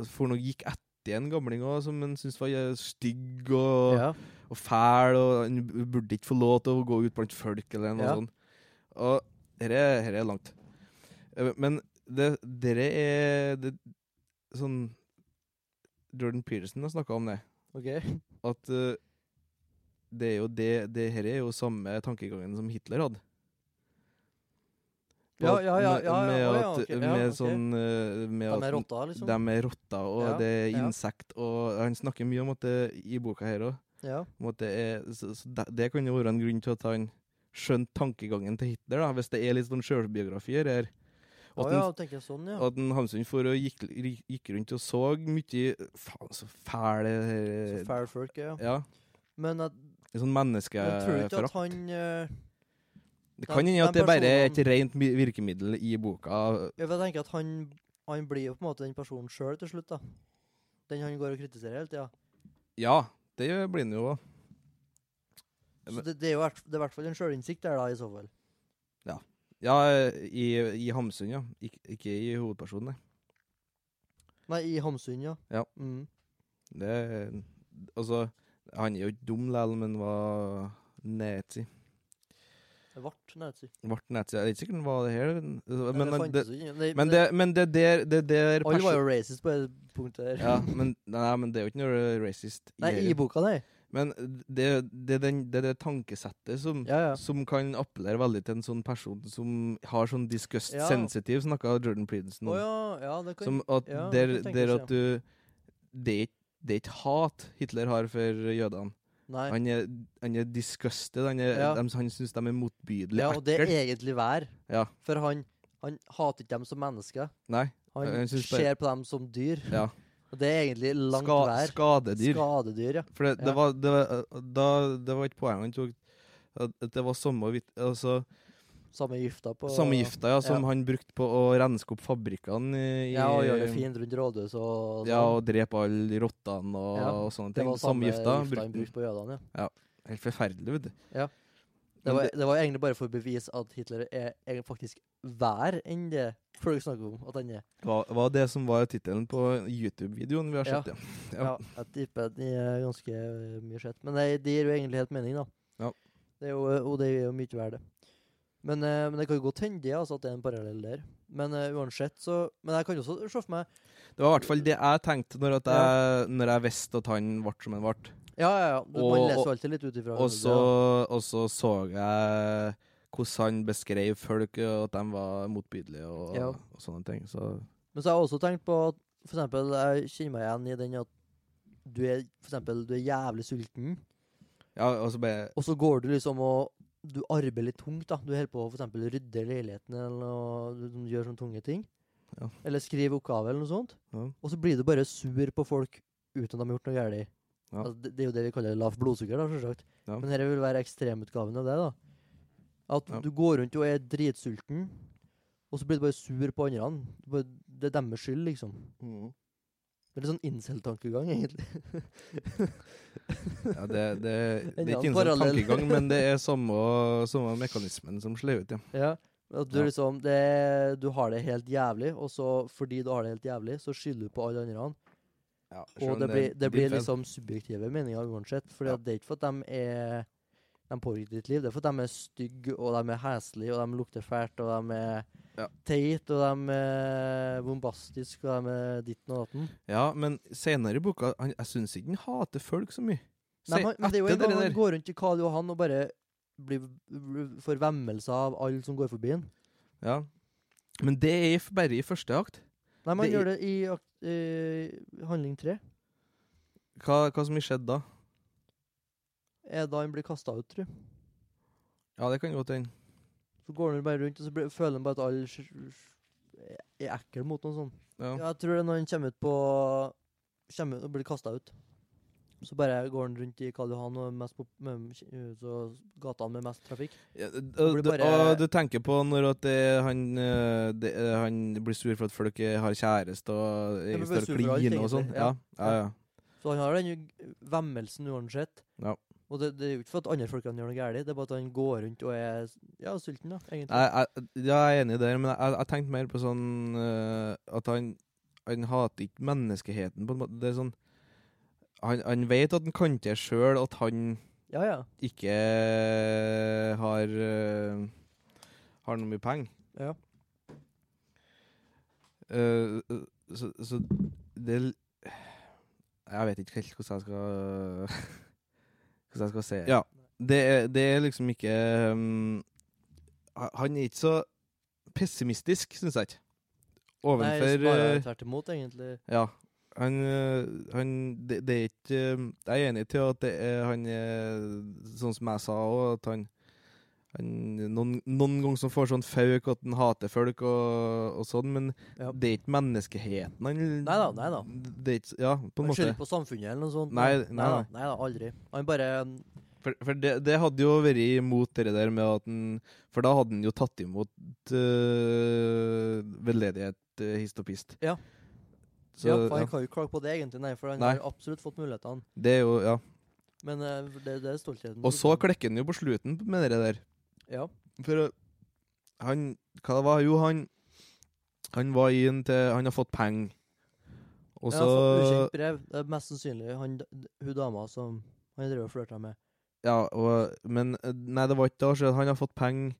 [SPEAKER 2] for noe gikk etter en gamling òg, som han syntes var eh, stygg og,
[SPEAKER 3] Ja.
[SPEAKER 2] og fæl, og han burde ikke få lov til å gå ut blant folk eller noe
[SPEAKER 3] Ja.
[SPEAKER 2] sånt. Og dette er, her er langt. Eh, Men det, dere er det, sånn Jordan Peterson har snakka om det,
[SPEAKER 3] OK.
[SPEAKER 2] at eh, det er jo det, det her er jo samme tankegangen som Hitler hadde.
[SPEAKER 3] Ja,
[SPEAKER 2] At
[SPEAKER 3] ja, ja.
[SPEAKER 2] med-
[SPEAKER 3] ja, ja.
[SPEAKER 2] Med,
[SPEAKER 3] Å, ja,
[SPEAKER 2] at,
[SPEAKER 3] ok, ja,
[SPEAKER 2] med
[SPEAKER 3] ok.
[SPEAKER 2] sånn eh, med
[SPEAKER 3] De
[SPEAKER 2] at
[SPEAKER 3] er rotter, liksom?
[SPEAKER 2] de er rotter, og
[SPEAKER 3] Ja,
[SPEAKER 2] det er
[SPEAKER 3] ja.
[SPEAKER 2] insekt, og han snakker mye om at det i boka her òg
[SPEAKER 3] Ja.
[SPEAKER 2] på en måte er, så, så det, det kan jo være en grunn til at han skjønte tankegangen til Hitler, da, hvis det er litt sånn sjølbiografier her. Og
[SPEAKER 3] Å
[SPEAKER 2] at,
[SPEAKER 3] ja,
[SPEAKER 2] en,
[SPEAKER 3] tenker jeg sånn, ja.
[SPEAKER 2] at en Hamsun for og gikk, gikk rundt og så mye Faen, så fæle
[SPEAKER 3] Så
[SPEAKER 2] her-
[SPEAKER 3] Fair folk, ja.
[SPEAKER 2] Ja.
[SPEAKER 3] Men at,
[SPEAKER 2] en Sånn
[SPEAKER 3] jeg tror du ikke at
[SPEAKER 2] menneskeforakt.
[SPEAKER 3] han eh,
[SPEAKER 2] Det
[SPEAKER 3] de-
[SPEAKER 2] kan hende at
[SPEAKER 3] de
[SPEAKER 2] det bare er et
[SPEAKER 3] personene-
[SPEAKER 2] rent mi- virkemiddel i boka.
[SPEAKER 3] Jeg vil tenke at han, han blir jo på en måte den personen sjøl til slutt, da. Den han går og kritiserer hele tida.
[SPEAKER 2] Ja, det blir den jo òg.
[SPEAKER 3] Så det, det er jo hvert- det er i hvert fall en sjølinnsikt der, da, i så fall.
[SPEAKER 2] Ja, i, i Hamsun, ja. Ik ikke i hovedpersonen, nei.
[SPEAKER 3] Nei, i Hamsun, ja.
[SPEAKER 2] Ja.
[SPEAKER 3] Mm.
[SPEAKER 2] Det Altså, han er jo ikke dum likevel, men var nazi.
[SPEAKER 3] Det ble nazi.
[SPEAKER 2] Ble nazi. Jeg vet ikke om det var det her. men-
[SPEAKER 3] Men,
[SPEAKER 2] Men,
[SPEAKER 3] det
[SPEAKER 2] han- det,
[SPEAKER 3] fantes jo ikke. Det-
[SPEAKER 2] men,
[SPEAKER 3] det-
[SPEAKER 2] det, men det der, det der
[SPEAKER 3] Alle var
[SPEAKER 2] perso-
[SPEAKER 3] jo racist på det punktet der.
[SPEAKER 2] ja, men, nei, men det er jo ikke noe racist. i
[SPEAKER 3] Nei, i
[SPEAKER 2] hele.
[SPEAKER 3] boka, nei.
[SPEAKER 2] Men det det er den- det er det tankesettet som,
[SPEAKER 3] Ja, ja.
[SPEAKER 2] som kan appellere veldig til en sånn person som har sånn disgust
[SPEAKER 3] Ja.
[SPEAKER 2] sensitive, snakka Jordan Pridence
[SPEAKER 3] Å
[SPEAKER 2] om.
[SPEAKER 3] ja, ja, det kan
[SPEAKER 2] Som at
[SPEAKER 3] ja, det
[SPEAKER 2] der,
[SPEAKER 3] kan tenkes,
[SPEAKER 2] der
[SPEAKER 3] ja.
[SPEAKER 2] at du Det er ikke det er ikke hat Hitler har for jødene.
[SPEAKER 3] Nei.
[SPEAKER 2] Han er, han er disgusted. Han, er,
[SPEAKER 3] Ja.
[SPEAKER 2] dem- han syns de er motbydelige.
[SPEAKER 3] Ja, og det er
[SPEAKER 2] ekkel.
[SPEAKER 3] egentlig vær.
[SPEAKER 2] Ja.
[SPEAKER 3] For han, han hater ikke dem som mennesker.
[SPEAKER 2] Nei.
[SPEAKER 3] Han
[SPEAKER 2] Jeg synes bare-
[SPEAKER 3] ser på dem som dyr.
[SPEAKER 2] Ja.
[SPEAKER 3] Og det er egentlig langt
[SPEAKER 2] Ska,
[SPEAKER 3] vær.
[SPEAKER 2] skadedyr.
[SPEAKER 3] Skadedyr, ja.
[SPEAKER 2] For det, det,
[SPEAKER 3] Ja.
[SPEAKER 2] var, det, var- da, det var ikke poenget han tok. At at det var samme, vit- altså,
[SPEAKER 3] Samme gifta på
[SPEAKER 2] samme gifta ja, som han brukte på å renske opp fabrikkene i
[SPEAKER 3] Ja, og gjør det fint rundt rådhuset og
[SPEAKER 2] Ja,
[SPEAKER 3] sånn.
[SPEAKER 2] og drepe alle rottene og,
[SPEAKER 3] Ja,
[SPEAKER 2] og sånne
[SPEAKER 3] det
[SPEAKER 2] ting.
[SPEAKER 3] var
[SPEAKER 2] Samme gifta. brukte
[SPEAKER 3] han brukte på jødene, ja.
[SPEAKER 2] den. Helt forferdelig, vet du.
[SPEAKER 3] Ja. Det
[SPEAKER 2] Men
[SPEAKER 3] var,
[SPEAKER 2] det-
[SPEAKER 3] det var egentlig bare for å bevise at Hitler er, er faktisk vær enn det folk snakker om at han er.
[SPEAKER 2] Hva var det som var tittelen på YouTube-videoen vi har sett? Ja.
[SPEAKER 3] Ja,
[SPEAKER 2] Ja.
[SPEAKER 3] jeg tipper at de er ganske eh, mye sett. Men det, det gir jo egentlig helt mening, da.
[SPEAKER 2] Ja.
[SPEAKER 3] Det er jo, eh, og det er jo mye verdt det. Men, eh, men det kan jo godt hende det, altså, at det er en parallell der. Men eh, uansett, så Men jeg kan jo også se for meg
[SPEAKER 2] Det var i hvert fall det jeg tenkte når, at jeg, når jeg visste at han ble som han ble.
[SPEAKER 3] Ja, ja, ja. Du, man
[SPEAKER 2] Og-
[SPEAKER 3] leser jo
[SPEAKER 2] og-
[SPEAKER 3] alltid litt ut ifra
[SPEAKER 2] Og
[SPEAKER 3] hverandre,
[SPEAKER 2] så,
[SPEAKER 3] da.
[SPEAKER 2] og så så jeg hvordan han beskrev folk, og at de var motbydelige og,
[SPEAKER 3] Ja.
[SPEAKER 2] og sånne ting. Så
[SPEAKER 3] Men så har jeg også tenkt på at for eksempel, jeg kjenner meg igjen i den at du er, for eksempel, du er jævlig sulten,
[SPEAKER 2] Ja, og så bare
[SPEAKER 3] og så går du liksom og du arbeider litt tungt. da. Du holder på å for eksempel rydde leiligheten eller noe, du, du gjør sånne tunge ting.
[SPEAKER 2] Ja.
[SPEAKER 3] Eller skrive oppgave eller noe sånt.
[SPEAKER 2] Ja.
[SPEAKER 3] Og så blir du bare sur på folk uten at de har gjort noe galt.
[SPEAKER 2] Ja.
[SPEAKER 3] Altså, det, det er jo det vi kaller lavt blodsukker, da, selvsagt.
[SPEAKER 2] Ja.
[SPEAKER 3] Men dette vil være ekstremutgaven av det. da. At
[SPEAKER 2] Ja.
[SPEAKER 3] du går rundt og er dritsulten, og så blir du bare sur på andre. Du bare- Det er deres skyld, liksom.
[SPEAKER 2] Mm.
[SPEAKER 3] Det er litt sånn incel-tankegang, egentlig.
[SPEAKER 2] ja, det, det, det er
[SPEAKER 3] annen
[SPEAKER 2] ikke en sånn
[SPEAKER 3] parallell.
[SPEAKER 2] tankegang, men det er samme, samme mekanismen som slår ut, ja.
[SPEAKER 3] Ja. At du
[SPEAKER 2] Ja.
[SPEAKER 3] liksom det, Du har det helt jævlig, og så fordi du har det helt jævlig, så skylder du på alle andre.
[SPEAKER 2] ja selv om
[SPEAKER 3] Og det, blir,
[SPEAKER 2] er
[SPEAKER 3] det blir
[SPEAKER 2] din feil.
[SPEAKER 3] liksom subjektive meninger uansett. For
[SPEAKER 2] Ja.
[SPEAKER 3] det er ikke for at de er De påvirker ditt liv. Det er for at de er stygge, og de er heslige, og de lukter fælt, og de er
[SPEAKER 2] Ja.
[SPEAKER 3] teite, og de er bombastiske, og de er ditten og datten.
[SPEAKER 2] Ja, men senere i boka han, Jeg syns ikke han hater folk så mye. Se,
[SPEAKER 3] Nei, men, men det er jo en
[SPEAKER 2] etter
[SPEAKER 3] gang
[SPEAKER 2] det
[SPEAKER 3] han
[SPEAKER 2] der-
[SPEAKER 3] går rundt i Karl Johan og bare blir, får vemmelser av alle som går forbi han.
[SPEAKER 2] Ja. Men det er i f- bare i første akt.
[SPEAKER 3] Nei, man
[SPEAKER 2] Det er-
[SPEAKER 3] gjør det i akt- eh, handling tre.
[SPEAKER 2] Hva, hva som har skjedd da?
[SPEAKER 3] Er da han blir kasta ut, tror jeg.
[SPEAKER 2] Ja, det kan godt hende.
[SPEAKER 3] Så går han bare rundt, og så blir, føler han bare at alle sj- sj- er ekle mot noen sånn.
[SPEAKER 2] Ja.
[SPEAKER 3] Ja, jeg tror det er når han kommer ut på Kommer ut og blir kasta ut. Så bare går han rundt i Karl Johan og mest på, med, så gatene med mest trafikk.
[SPEAKER 2] Ja, d-
[SPEAKER 3] blir
[SPEAKER 2] og, du-
[SPEAKER 3] bare-
[SPEAKER 2] og du tenker på når at det, han, eh, det, eh, han blir sur for at folk eh, har kjæreste og eh,
[SPEAKER 3] blir bare
[SPEAKER 2] står
[SPEAKER 3] sur
[SPEAKER 2] og
[SPEAKER 3] for alt,
[SPEAKER 2] kliner og sånn.
[SPEAKER 3] egentlig,
[SPEAKER 2] Ja,
[SPEAKER 3] ja.
[SPEAKER 2] ja, ja.
[SPEAKER 3] Så han har den jo- vemmelsen uansett.
[SPEAKER 2] Ja.
[SPEAKER 3] Og det, det er jo ikke for at andre folk kan gjøre noe galt, det er bare at han går rundt og er ja, sulten, da, egentlig.
[SPEAKER 2] Jeg, jeg, ja, jeg er enig der, men jeg, jeg tenkte mer på sånn eh, At han, han hater ikke menneskeheten, på en måte. Det er sånn Han, han vet at han kan til sjøl at han
[SPEAKER 3] Ja, ja.
[SPEAKER 2] ikke har eh, Har noe mye penger.
[SPEAKER 3] Ja.
[SPEAKER 2] Eh, så, så det er l- Jeg vet ikke helt hvordan jeg skal Hvordan jeg skal se Ja. Det er, det er liksom ikke um, ha- Han er ikke så pessimistisk, syns jeg ikke.
[SPEAKER 3] Nei,
[SPEAKER 2] Ovenfor
[SPEAKER 3] snarere
[SPEAKER 2] eh,
[SPEAKER 3] tvert imot, egentlig.
[SPEAKER 2] Ja. Han, eh, han det, det er ikke um, Jeg er enig til at det er han er sånn som jeg sa òg, at han, han noen, noen ganger så får sånn fauk at han hater folk og, og sånn, men
[SPEAKER 3] Ja.
[SPEAKER 2] det er ikke menneskeheten han
[SPEAKER 3] Neida, neida.
[SPEAKER 2] Det er ikke, ja, på en
[SPEAKER 3] Han skylder
[SPEAKER 2] måte.
[SPEAKER 3] på samfunnet eller noe sånt.
[SPEAKER 2] Nei, nei,
[SPEAKER 3] Neida, neida, aldri. Han bare mm,
[SPEAKER 2] For, for det, det hadde jo vært imot det der med at den, For da hadde han jo tatt imot øh, veldedighet, øh, hist og pist.
[SPEAKER 3] Ja.
[SPEAKER 2] Så
[SPEAKER 3] ja,
[SPEAKER 2] ja,
[SPEAKER 3] for Han kan jo ikke klage på det, egentlig, nei, for han
[SPEAKER 2] Nei.
[SPEAKER 3] har absolutt fått mulighetene.
[SPEAKER 2] det er jo Ja.
[SPEAKER 3] Men eh, det, det er stoltheten.
[SPEAKER 2] Og så klekker han jo på slutten med det der.
[SPEAKER 3] Ja.
[SPEAKER 2] For øh, han Hva det var Jo, han Han var i en til Han har fått penger. Og så
[SPEAKER 3] ja, for ukjent brev. Det er mest sannsynlig han, d- hun dama som han drev og flørta med.
[SPEAKER 2] Ja, og, men øh, Nei, det var ikke da. så Han har fått penger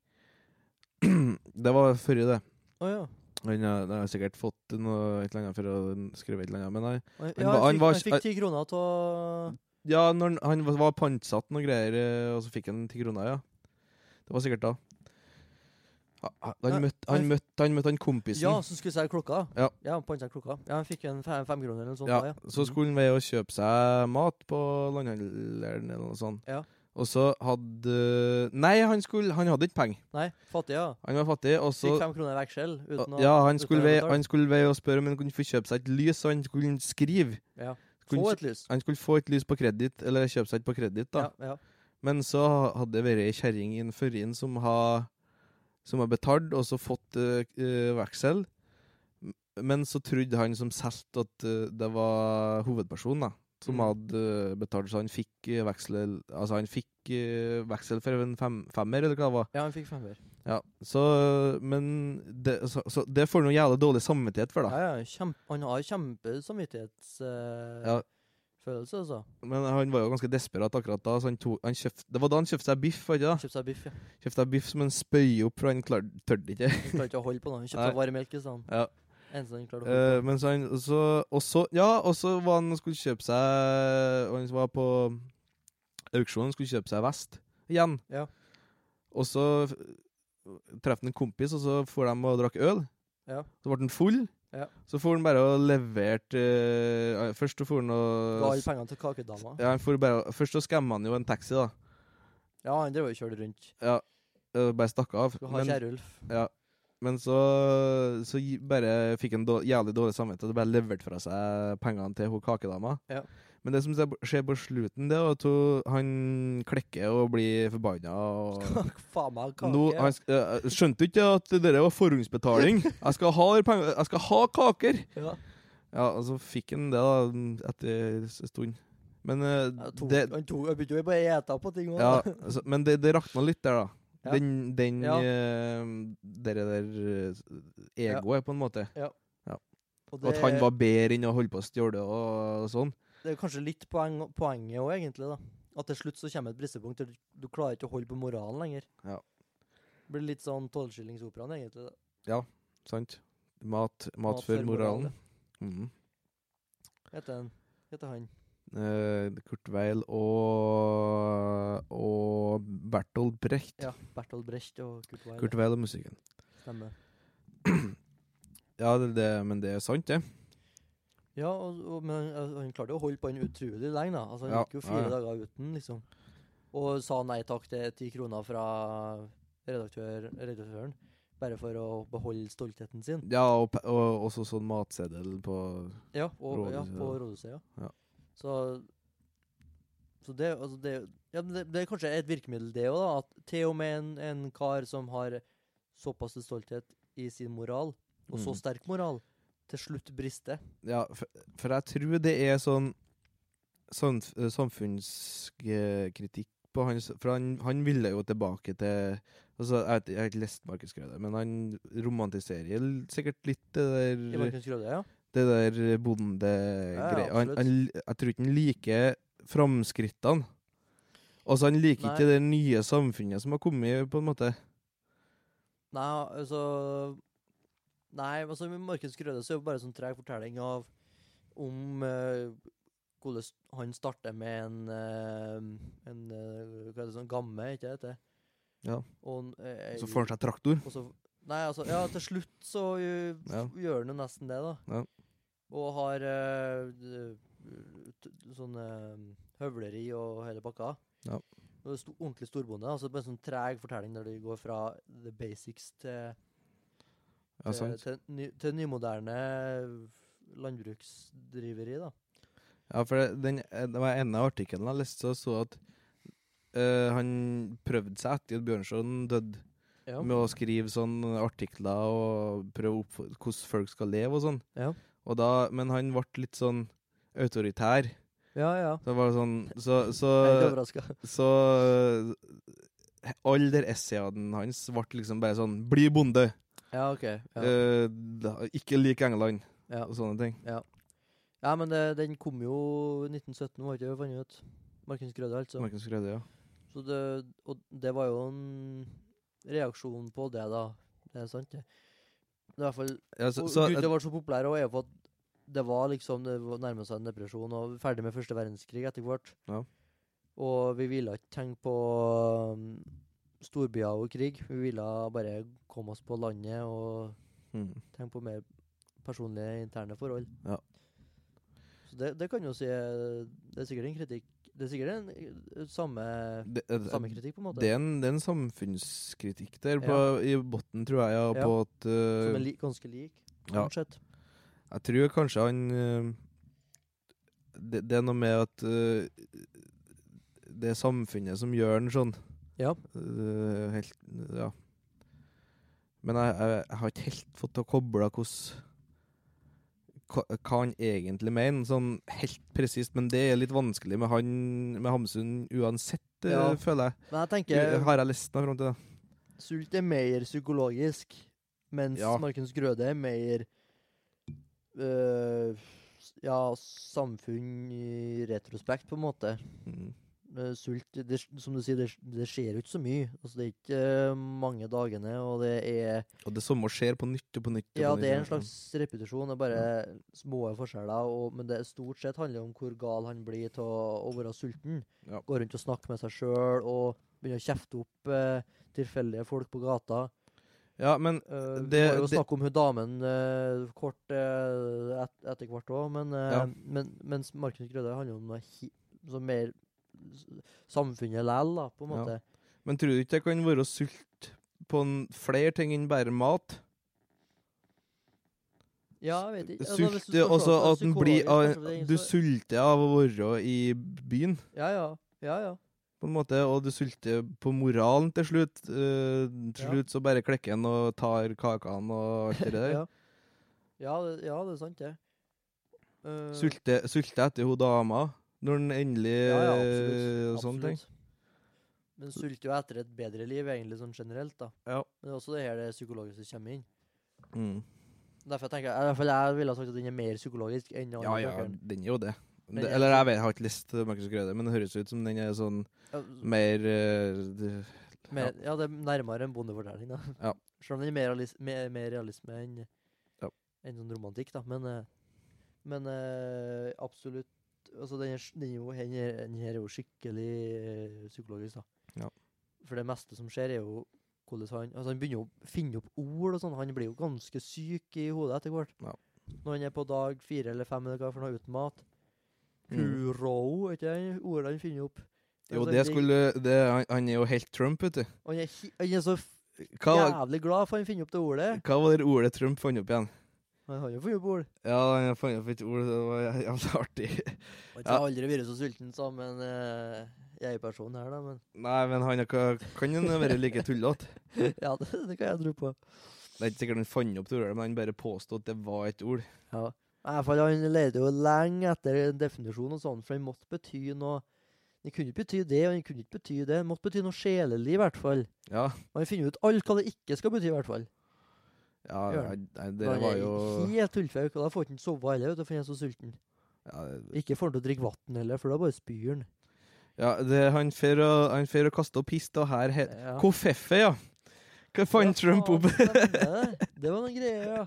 [SPEAKER 2] Det var før det.
[SPEAKER 3] Å ja.
[SPEAKER 2] Han har, han har sikkert fått noe, et eller annet for å skrive et eller annet. Men nei.
[SPEAKER 3] Han,
[SPEAKER 2] var-
[SPEAKER 3] ja, han,
[SPEAKER 2] han
[SPEAKER 3] fikk,
[SPEAKER 2] var-
[SPEAKER 3] han fikk ti kroner til
[SPEAKER 2] Ja, når han- han var- var pantsatt noen greier, eh, og så fikk han ti kroner, ja. Det var sikkert da. Ha- ha- Han
[SPEAKER 3] Nei,
[SPEAKER 2] møtte han,
[SPEAKER 3] han-
[SPEAKER 2] møtte, han, møtte han kompisen.
[SPEAKER 3] Ja, så skulle jeg selge klokka.
[SPEAKER 2] Ja.
[SPEAKER 3] ja han panta klokka. Ja, Han fikk en fem, femkroner eller noe sånt.
[SPEAKER 2] Ja,
[SPEAKER 3] da, ja. Mm.
[SPEAKER 2] Så skulle han ved å kjøpe seg mat på landhandleren eller noe sånt.
[SPEAKER 3] Ja.
[SPEAKER 2] Og så hadde Nei, han, skulle, han hadde ikke penger.
[SPEAKER 3] Nei, fattig, ja.
[SPEAKER 2] Han var fattig, og
[SPEAKER 3] Fikk
[SPEAKER 2] så
[SPEAKER 3] fem kroner i veksel uten å
[SPEAKER 2] ja, han
[SPEAKER 3] uten å
[SPEAKER 2] skulle, ved,
[SPEAKER 3] betale.
[SPEAKER 2] han skulle ved å spørre om han kunne få kjøpe seg et lys, så han skulle skrive.
[SPEAKER 3] Ja.
[SPEAKER 2] Kunne
[SPEAKER 3] få
[SPEAKER 2] kjø-
[SPEAKER 3] et lys.
[SPEAKER 2] han skulle få et lys på kreditt, eller kjøpe seg et på kreditt, da.
[SPEAKER 3] Ja, ja.
[SPEAKER 2] Men så hadde det vært ei kjerring i en førrin som har som har betalt, og så fått eh, eh, veksel. M- Men så trodde han som solgte, at eh, det var hovedpersonen da, som
[SPEAKER 3] Mm.
[SPEAKER 2] hadde eh, betalt. Så han fikk eh, veksel Altså han fikk eh, veksel for en fem, femmer, eller hva det var.
[SPEAKER 3] ja, han fikk femmer.
[SPEAKER 2] Ja, så, men det, så, så det får han jo jævla dårlig samvittighet for, da.
[SPEAKER 3] Ja, ja, kjempe, han har kjempesamvittighetsfølelse,
[SPEAKER 2] Ja.
[SPEAKER 3] altså.
[SPEAKER 2] Men han var jo ganske desperat akkurat da. Så han tok, han kjøpt, det var da han kjøpte seg biff, var det ikke da?
[SPEAKER 3] Kjøpte seg biff, ja.
[SPEAKER 2] Kjøpte seg biff som han spøyer opp, for han klar- tørte ikke.
[SPEAKER 3] Han klarte ikke å holde på noe. Han
[SPEAKER 2] Nei.
[SPEAKER 3] kjøpte varm melk i stedet.
[SPEAKER 2] Ja.
[SPEAKER 3] Eneste han klarte å holde
[SPEAKER 2] Eh, men så han og så, og så Ja, og så var han og skulle kjøpe seg Og han var på auksjonen skulle kjøpe seg vest igjen.
[SPEAKER 3] Ja.
[SPEAKER 2] Og så f- traff han en kompis, og så for de og drakk øl.
[SPEAKER 3] Ja.
[SPEAKER 2] Så ble han full,
[SPEAKER 3] Ja.
[SPEAKER 2] Så for han bare og leverte eh, Først så for han og
[SPEAKER 3] Ga alle pengene til kakedama.
[SPEAKER 2] ja, han for bare, Først så skamma han jo en taxi, da.
[SPEAKER 3] Ja, han drev og kjørte rundt.
[SPEAKER 2] Og bare stakk av.
[SPEAKER 3] Skulle ha Kjerulf.
[SPEAKER 2] ja. men så, så gi- bare fikk han dår, jævlig dårlig samvittighet og bare leverte fra seg pengene til hun kakedama.
[SPEAKER 3] Ja.
[SPEAKER 2] Men det som se- skjer på slutten, det er at hun- han klikker og blir forbanna. og-
[SPEAKER 3] Faen meg, kake.
[SPEAKER 2] Nå, han, sk- eh, skjønte du ikke at det der var forhåndsbetaling? Jeg skal ha, penger, jeg skal ha kaker!
[SPEAKER 3] ja.
[SPEAKER 2] Ja, og så fikk han det da, etter en stund. Men eh,
[SPEAKER 3] Ja, tok,
[SPEAKER 2] det,
[SPEAKER 3] han tok, han begynte jo bare å ete på ting.
[SPEAKER 2] ja,
[SPEAKER 3] også, da.
[SPEAKER 2] altså, men det, det rakna litt der, da.
[SPEAKER 3] Ja.
[SPEAKER 2] Den, den
[SPEAKER 3] Ja.
[SPEAKER 2] eh, dere der eh, egoet, på en måte.
[SPEAKER 3] Og
[SPEAKER 2] At han var bedre enn å holde på å stjåle og, og sånn.
[SPEAKER 3] Det er kanskje litt poeng, poenget òg, egentlig. da. At til slutt så kommer et bristepunkt der du klarer ikke å holde på moralen lenger.
[SPEAKER 2] Ja.
[SPEAKER 3] Blir litt sånn tolvskillingsoperaen, egentlig. da.
[SPEAKER 2] Sant? Mat, mat, før moralen. Mhm.
[SPEAKER 3] Heter han. Heter han.
[SPEAKER 2] Eh, Kurt Weil og, og Bertolt Brecht.
[SPEAKER 3] Ja, Bertolt Brecht og Kurt Weil.
[SPEAKER 2] Kurt Weil og musikken.
[SPEAKER 3] Stemmer.
[SPEAKER 2] Ja, det, det, men det er sant, det.
[SPEAKER 3] Ja, og, og, men han, altså, han klarte jo å holde på han utrolig lenge, da. Altså, han
[SPEAKER 2] Ja,
[SPEAKER 3] gikk jo
[SPEAKER 2] ja,
[SPEAKER 3] fire
[SPEAKER 2] ja.
[SPEAKER 3] dager uten, liksom. Og sa nei takk til ti kroner fra redaktør, redaktøren. Bare for å beholde stoltheten sin.
[SPEAKER 2] Ja, og, pe- og også sånn matseddel på
[SPEAKER 3] Ja, og, ja
[SPEAKER 2] Rådhuset,
[SPEAKER 3] på
[SPEAKER 2] ja.
[SPEAKER 3] rådhuset. Ja.
[SPEAKER 2] Ja.
[SPEAKER 3] Så, så det, altså det, ja, men det, det er kanskje et virkemiddel, det òg, da. At til og med en, en kar som har såpass til stolthet i sin moral, og så
[SPEAKER 2] Mm.
[SPEAKER 3] sterk moral, til slutt brister.
[SPEAKER 2] Ja, for, for jeg tror det er sånn samf samfunnskritikk på han s- For han, han ville jo tilbake til altså, Jeg, vet, ikke- jeg har ikke lest Markus Grøde, men han romantiserer l- sikkert litt det
[SPEAKER 3] I
[SPEAKER 2] der,
[SPEAKER 3] Markus Grøde, ja.
[SPEAKER 2] det der bondegreia.
[SPEAKER 3] Ja, ja,
[SPEAKER 2] han,
[SPEAKER 3] absolutt.
[SPEAKER 2] han, l- jeg tror ikke han liker framskrittene. Altså, han liker
[SPEAKER 3] Nei.
[SPEAKER 2] ikke det nye samfunnet som har kommet, på en måte.
[SPEAKER 3] Nei, altså Nei, altså med Markus Grøde så er det bare sånn treg fortelling av om eh, hvordan han starter med en eh, En eh, Hva er det sånn gamme, ikke det?
[SPEAKER 2] Ja.
[SPEAKER 3] Og, en- eh,
[SPEAKER 2] Så får han seg traktor.
[SPEAKER 3] Og så, nei, altså, ja, til slutt så jo,
[SPEAKER 2] Ja.
[SPEAKER 3] gjør han jo nesten det, da.
[SPEAKER 2] Ja.
[SPEAKER 3] Og har eh, d- t- sånn eh, høvleri og hele pakka.
[SPEAKER 2] Ja.
[SPEAKER 3] Og sto, ordentlig storbonde. altså Bare en sånn treg fortelling der du går fra the basics til,
[SPEAKER 2] Ja,
[SPEAKER 3] til,
[SPEAKER 2] sant.
[SPEAKER 3] til, ny, til nymoderne landbruksdriveri, da.
[SPEAKER 2] Ja, for det- den, eh, det var en av artiklene jeg leste, så så at eh, han prøvde seg etter at Bjørnson døde,
[SPEAKER 3] Ja.
[SPEAKER 2] med å skrive sånne artikler og prøve opp hvordan folk skal leve og sånn.
[SPEAKER 3] Ja.
[SPEAKER 2] Og da, men han ble litt sånn autoritær.
[SPEAKER 3] ja, ja.
[SPEAKER 2] Så det var sånn Så,
[SPEAKER 3] Jeg er
[SPEAKER 2] så,
[SPEAKER 3] ikke overraska.
[SPEAKER 2] så, eh, Alle der essayene hans ble liksom bare sånn Bli bonde!
[SPEAKER 3] Ja, OK. Ja.
[SPEAKER 2] eh, da- ikke lik England!
[SPEAKER 3] Ja.
[SPEAKER 2] Og sånne ting.
[SPEAKER 3] ja, men det, den kom jo 1917, var ikke det? Fant jeg ut. Markus Grøde, altså.
[SPEAKER 2] Markus Grøde, ja.
[SPEAKER 3] Så det, og det var jo en reaksjon på det, da. Det er sant, det. Det er i hvert fall,
[SPEAKER 2] ja
[SPEAKER 3] så,
[SPEAKER 2] så, så,
[SPEAKER 3] det var så populær, og er jo for at det var liksom Det var nærmet seg en depresjon, og ferdig med første verdenskrig etter hvert.
[SPEAKER 2] Ja.
[SPEAKER 3] Og vi ville ikke tenke på um, storbyer og krig. Vi ville bare komme oss på landet og
[SPEAKER 2] mm.
[SPEAKER 3] tenke på mer personlige, interne forhold.
[SPEAKER 2] Ja.
[SPEAKER 3] Så det, det kan jo si eh, Det er sikkert en kritikk Det er sikkert en eh, samme,
[SPEAKER 2] det, eh,
[SPEAKER 3] samme kritikk, på en måte.
[SPEAKER 2] Det er en, det er en samfunnskritikk der på, i bunnen, tror jeg, ja,
[SPEAKER 3] Ja.
[SPEAKER 2] på at eh,
[SPEAKER 3] Som er li ganske lik,
[SPEAKER 2] Ja.
[SPEAKER 3] stort sett.
[SPEAKER 2] Jeg tror kanskje han eh, det, det er noe med at eh, det er samfunnet som gjør den sånn.
[SPEAKER 3] Ja.
[SPEAKER 2] Eh, helt, ja. Men jeg, jeg, jeg har ikke helt fått til å koble hvordan hva hva han egentlig mener, sånn helt presist. Men det er litt vanskelig med han med Hamsun uansett, eh,
[SPEAKER 3] Ja.
[SPEAKER 2] føler jeg.
[SPEAKER 3] Men jeg tenker
[SPEAKER 2] Har jeg lest den fram til det?
[SPEAKER 3] sult er mer psykologisk, mens
[SPEAKER 2] Ja.
[SPEAKER 3] Markens Grøde er mer øh, s- Ja, samfunn i retrospekt, på en måte.
[SPEAKER 2] Mm.
[SPEAKER 3] Eh, Sult, det, som du sier, det, det skjer jo ikke så mye. Altså, det er ikke eh, mange dagene, og det er
[SPEAKER 2] Og det samme skjer på nytt og på nytt. og
[SPEAKER 3] Ja,
[SPEAKER 2] på nytt,
[SPEAKER 3] det er en slags repetisjon, det er bare små forskjeller, og, men det er stort sett handler om hvor gal han blir til å, å være sulten.
[SPEAKER 2] Ja.
[SPEAKER 3] Gå rundt og snakke med seg sjøl og begynne å kjefte opp eh, tilfeldige folk på gata.
[SPEAKER 2] Ja, men
[SPEAKER 3] Eh, det
[SPEAKER 2] Det-
[SPEAKER 3] var jo
[SPEAKER 2] det-
[SPEAKER 3] snakk om hun damen eh, kort eh, et, etter hvert òg, men, eh,
[SPEAKER 2] Ja.
[SPEAKER 3] men mens Markus Grøde handler om noe hi, så mer s- samfunnet lell, da, på en
[SPEAKER 2] Ja.
[SPEAKER 3] måte.
[SPEAKER 2] Men tror du ikke det kan være sult på en flere ting enn bare mat?
[SPEAKER 3] Ja, jeg vet ikke. Altså, hvis du
[SPEAKER 2] Sulte,
[SPEAKER 3] skal se
[SPEAKER 2] altså
[SPEAKER 3] på det
[SPEAKER 2] at den blir av,
[SPEAKER 3] psykologisk, kanskje det er
[SPEAKER 2] Du
[SPEAKER 3] så-
[SPEAKER 2] sulter av å være i byen,
[SPEAKER 3] Ja, ja. ja, ja.
[SPEAKER 2] på en måte, og du sulter på moralen til slutt. Eh, til
[SPEAKER 3] Ja.
[SPEAKER 2] slutt så bare klekker en og tar kakene og alt det der.
[SPEAKER 3] Ja. Ja, det, ja, det er sant, det. Eh,
[SPEAKER 2] Sulte, sulte etter hun dama når den endelig
[SPEAKER 3] ja, ja,
[SPEAKER 2] eh,
[SPEAKER 3] absolutt,
[SPEAKER 2] og Sånne ting.
[SPEAKER 3] absolutt. Men sulter jo etter et bedre liv, egentlig, sånn generelt, da.
[SPEAKER 2] Ja.
[SPEAKER 3] Men det er også det her det psykologiske kommer inn.
[SPEAKER 2] Mm.
[SPEAKER 3] Derfor jeg tenker jeg, i hvert fall jeg ville ha sagt at den er mer psykologisk enn
[SPEAKER 2] Ja
[SPEAKER 3] andre
[SPEAKER 2] ja,
[SPEAKER 3] bøkene.
[SPEAKER 2] den er jo det.
[SPEAKER 3] Men
[SPEAKER 2] det
[SPEAKER 3] jeg-
[SPEAKER 2] eller jeg, vet, jeg har ikke lyst til Markus Grøde, men det høres ut som den er sånn
[SPEAKER 3] Ja,
[SPEAKER 2] mer eh,
[SPEAKER 3] mer, ja. det er nærmere en bondefortelling, da.
[SPEAKER 2] Ja.
[SPEAKER 3] Selv om den er mer, realis mer, mer realisme enn
[SPEAKER 2] Ja.
[SPEAKER 3] enn sånn romantikk, da. Men, eh, men eh, absolutt Altså, den, er, s- den, er jo, den, er, den her er jo skikkelig eh, psykologisk, da.
[SPEAKER 2] Ja.
[SPEAKER 3] For det meste som skjer, er jo hvordan han Altså, han begynner jo å finne opp ord og sånn. Han blir jo ganske syk i hodet etter hvert.
[SPEAKER 2] Ja.
[SPEAKER 3] Når han er på dag fire eller fem eller hva for noe uten mat.
[SPEAKER 2] mm.
[SPEAKER 3] Kuroo, er ikke det ordet han finner opp?
[SPEAKER 2] Jo,
[SPEAKER 3] Altså,
[SPEAKER 2] det skulle det, han, han er jo helt Trump, vet du.
[SPEAKER 3] Han er, hi- han er så f-
[SPEAKER 2] Hva, var-
[SPEAKER 3] jævlig glad for han finner opp det ordet.
[SPEAKER 2] hva var det ordet Trump fant opp igjen?
[SPEAKER 3] Han har jo funnet opp ord.
[SPEAKER 2] Ja, han fant opp et ord, det var jæ- jævlig artig.
[SPEAKER 3] Jeg
[SPEAKER 2] Ja.
[SPEAKER 3] har aldri vært så sulten som en uh, jeg-person her, da, men
[SPEAKER 2] Nei, men han er ikke- kan jo være like tullete.
[SPEAKER 3] ja, det, det kan jeg tro på.
[SPEAKER 2] Det er ikke sikkert han fant opp det ordet, men han bare påstod at det var et ord.
[SPEAKER 3] Ja. I hvert fall, han lette jo lenge etter en definisjon og sånn, for han måtte bety noe Den kunne ikke bety det, og den kunne ikke bety det. Den måtte bety noe sjelelig, i hvert fall.
[SPEAKER 2] Ja,
[SPEAKER 3] Og han finner ut alt hva det ikke skal bety, i hvert fall. Gjør
[SPEAKER 2] ja
[SPEAKER 3] han.
[SPEAKER 2] nei,
[SPEAKER 3] For
[SPEAKER 2] det
[SPEAKER 3] han
[SPEAKER 2] var
[SPEAKER 3] er
[SPEAKER 2] jo
[SPEAKER 3] Helt tullfauk, og da får han ikke sove heller, vet du, for han er så sulten.
[SPEAKER 2] ja, det-
[SPEAKER 3] Ikke får han til å drikke vann heller, for da bare spyr han.
[SPEAKER 2] ja, det, han fer å, han fer å kaste opp hist, og her het
[SPEAKER 3] Ja.
[SPEAKER 2] Kofeffe, ja. Hva fant
[SPEAKER 3] Ja,
[SPEAKER 2] Trump opp?
[SPEAKER 3] faen, stemmer det. Det var noen greier, ja.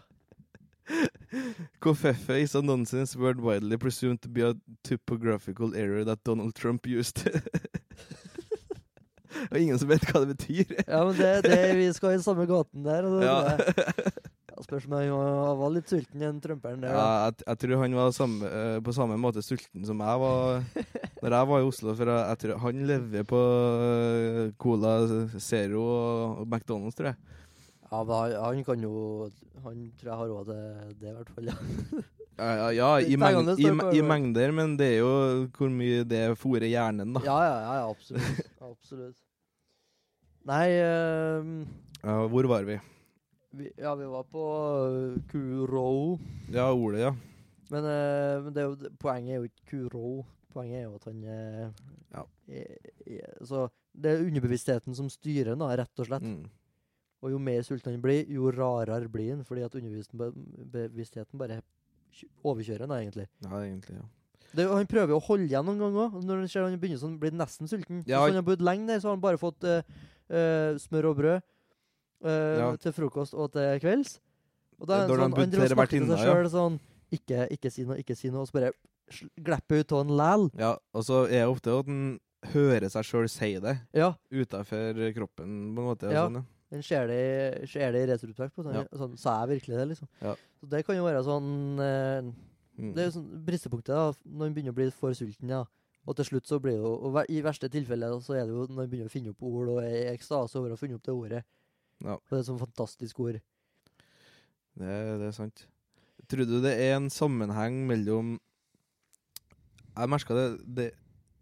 [SPEAKER 2] Kofeffe is a nonsense word widely presumed to be a typographical error that Donald Trump used. og ingen som vet hva det betyr.
[SPEAKER 3] Ja, men det, det, vi skal i samme gaten der. Og det,
[SPEAKER 2] Ja.
[SPEAKER 3] det. Jeg spørs om jeg var- var litt sulten, den trumperen der. da.
[SPEAKER 2] Ja, jeg, jeg tror han var samme, eh, på samme måte sulten som jeg var Når jeg var i Oslo. For jeg, jeg tror han lever på eh, Cola Zero og, og McDonald's, tror jeg.
[SPEAKER 3] Ja, men han, han kan jo Han tror jeg har råd til det, i hvert fall. Ja.
[SPEAKER 2] Ja, ja, ja i,
[SPEAKER 3] Det er
[SPEAKER 2] meng,
[SPEAKER 3] pengene
[SPEAKER 2] i,
[SPEAKER 3] står på,
[SPEAKER 2] me- i
[SPEAKER 3] ja.
[SPEAKER 2] mengder, men det er jo hvor mye det fôrer hjernen, da.
[SPEAKER 3] ja, ja, ja, ja absolutt. Absolutt. Nei ehm,
[SPEAKER 2] Ja, hvor var vi?
[SPEAKER 3] vi, Ja, vi var på øh, Kuro.
[SPEAKER 2] Ja, Ole, ja.
[SPEAKER 3] Men, eh, men det er jo, det- poenget er jo ikke Kuro. Poenget er jo at han eh,
[SPEAKER 2] Ja.
[SPEAKER 3] er, er, Så det er underbevisstheten som styrer han, da, rett og slett.
[SPEAKER 2] Mm.
[SPEAKER 3] Og jo mer sulten han blir, jo rarere blir han, fordi at underbevisstheten bare kj- overkjører han da, egentlig.
[SPEAKER 2] Ja, egentlig, ja.
[SPEAKER 3] Det, er jo- han prøver å holde igjen noen ganger òg. Når han ser han begynner sånn, blir nesten sulten.
[SPEAKER 2] Ja,
[SPEAKER 3] Så
[SPEAKER 2] han-
[SPEAKER 3] han har bodd lenge der, så har han bare fått eh, eh, smør og brød eh,
[SPEAKER 2] Ja.
[SPEAKER 3] til frokost og til kvelds. Og da er
[SPEAKER 2] Ja,
[SPEAKER 3] han
[SPEAKER 2] da har han
[SPEAKER 3] sånn,
[SPEAKER 2] bodd
[SPEAKER 3] han driver og
[SPEAKER 2] flere
[SPEAKER 3] snakker til seg
[SPEAKER 2] vertinner,
[SPEAKER 3] sjøl sånn ikke, ikke si noe, ikke si noe, og så bare sl- glipper ut av han læl.
[SPEAKER 2] ja. Og så er det ofte at en hører seg sjøl si det
[SPEAKER 3] Ja,
[SPEAKER 2] utafor kroppen, på en måte. og
[SPEAKER 3] Ja.
[SPEAKER 2] Sånn, ja.
[SPEAKER 3] den ser det, ser det i retrospekt på. Sånn,
[SPEAKER 2] Ja.
[SPEAKER 3] sånn, sa jeg virkelig det, liksom?
[SPEAKER 2] Ja.
[SPEAKER 3] Så det kan jo være sånn eh,
[SPEAKER 2] Mm.
[SPEAKER 3] Det er jo sånn bristepunktet da, når han begynner å bli for sulten. ja. Og til slutt så blir det jo, og ver- I verste tilfelle så er det jo når han begynner å finne opp ord og er i ekstase over å ha funnet opp det ordet.
[SPEAKER 2] Ja.
[SPEAKER 3] Og det er et sånt fantastisk ord.
[SPEAKER 2] Det, det er sant. Tror du det er en sammenheng mellom Jeg merka det, det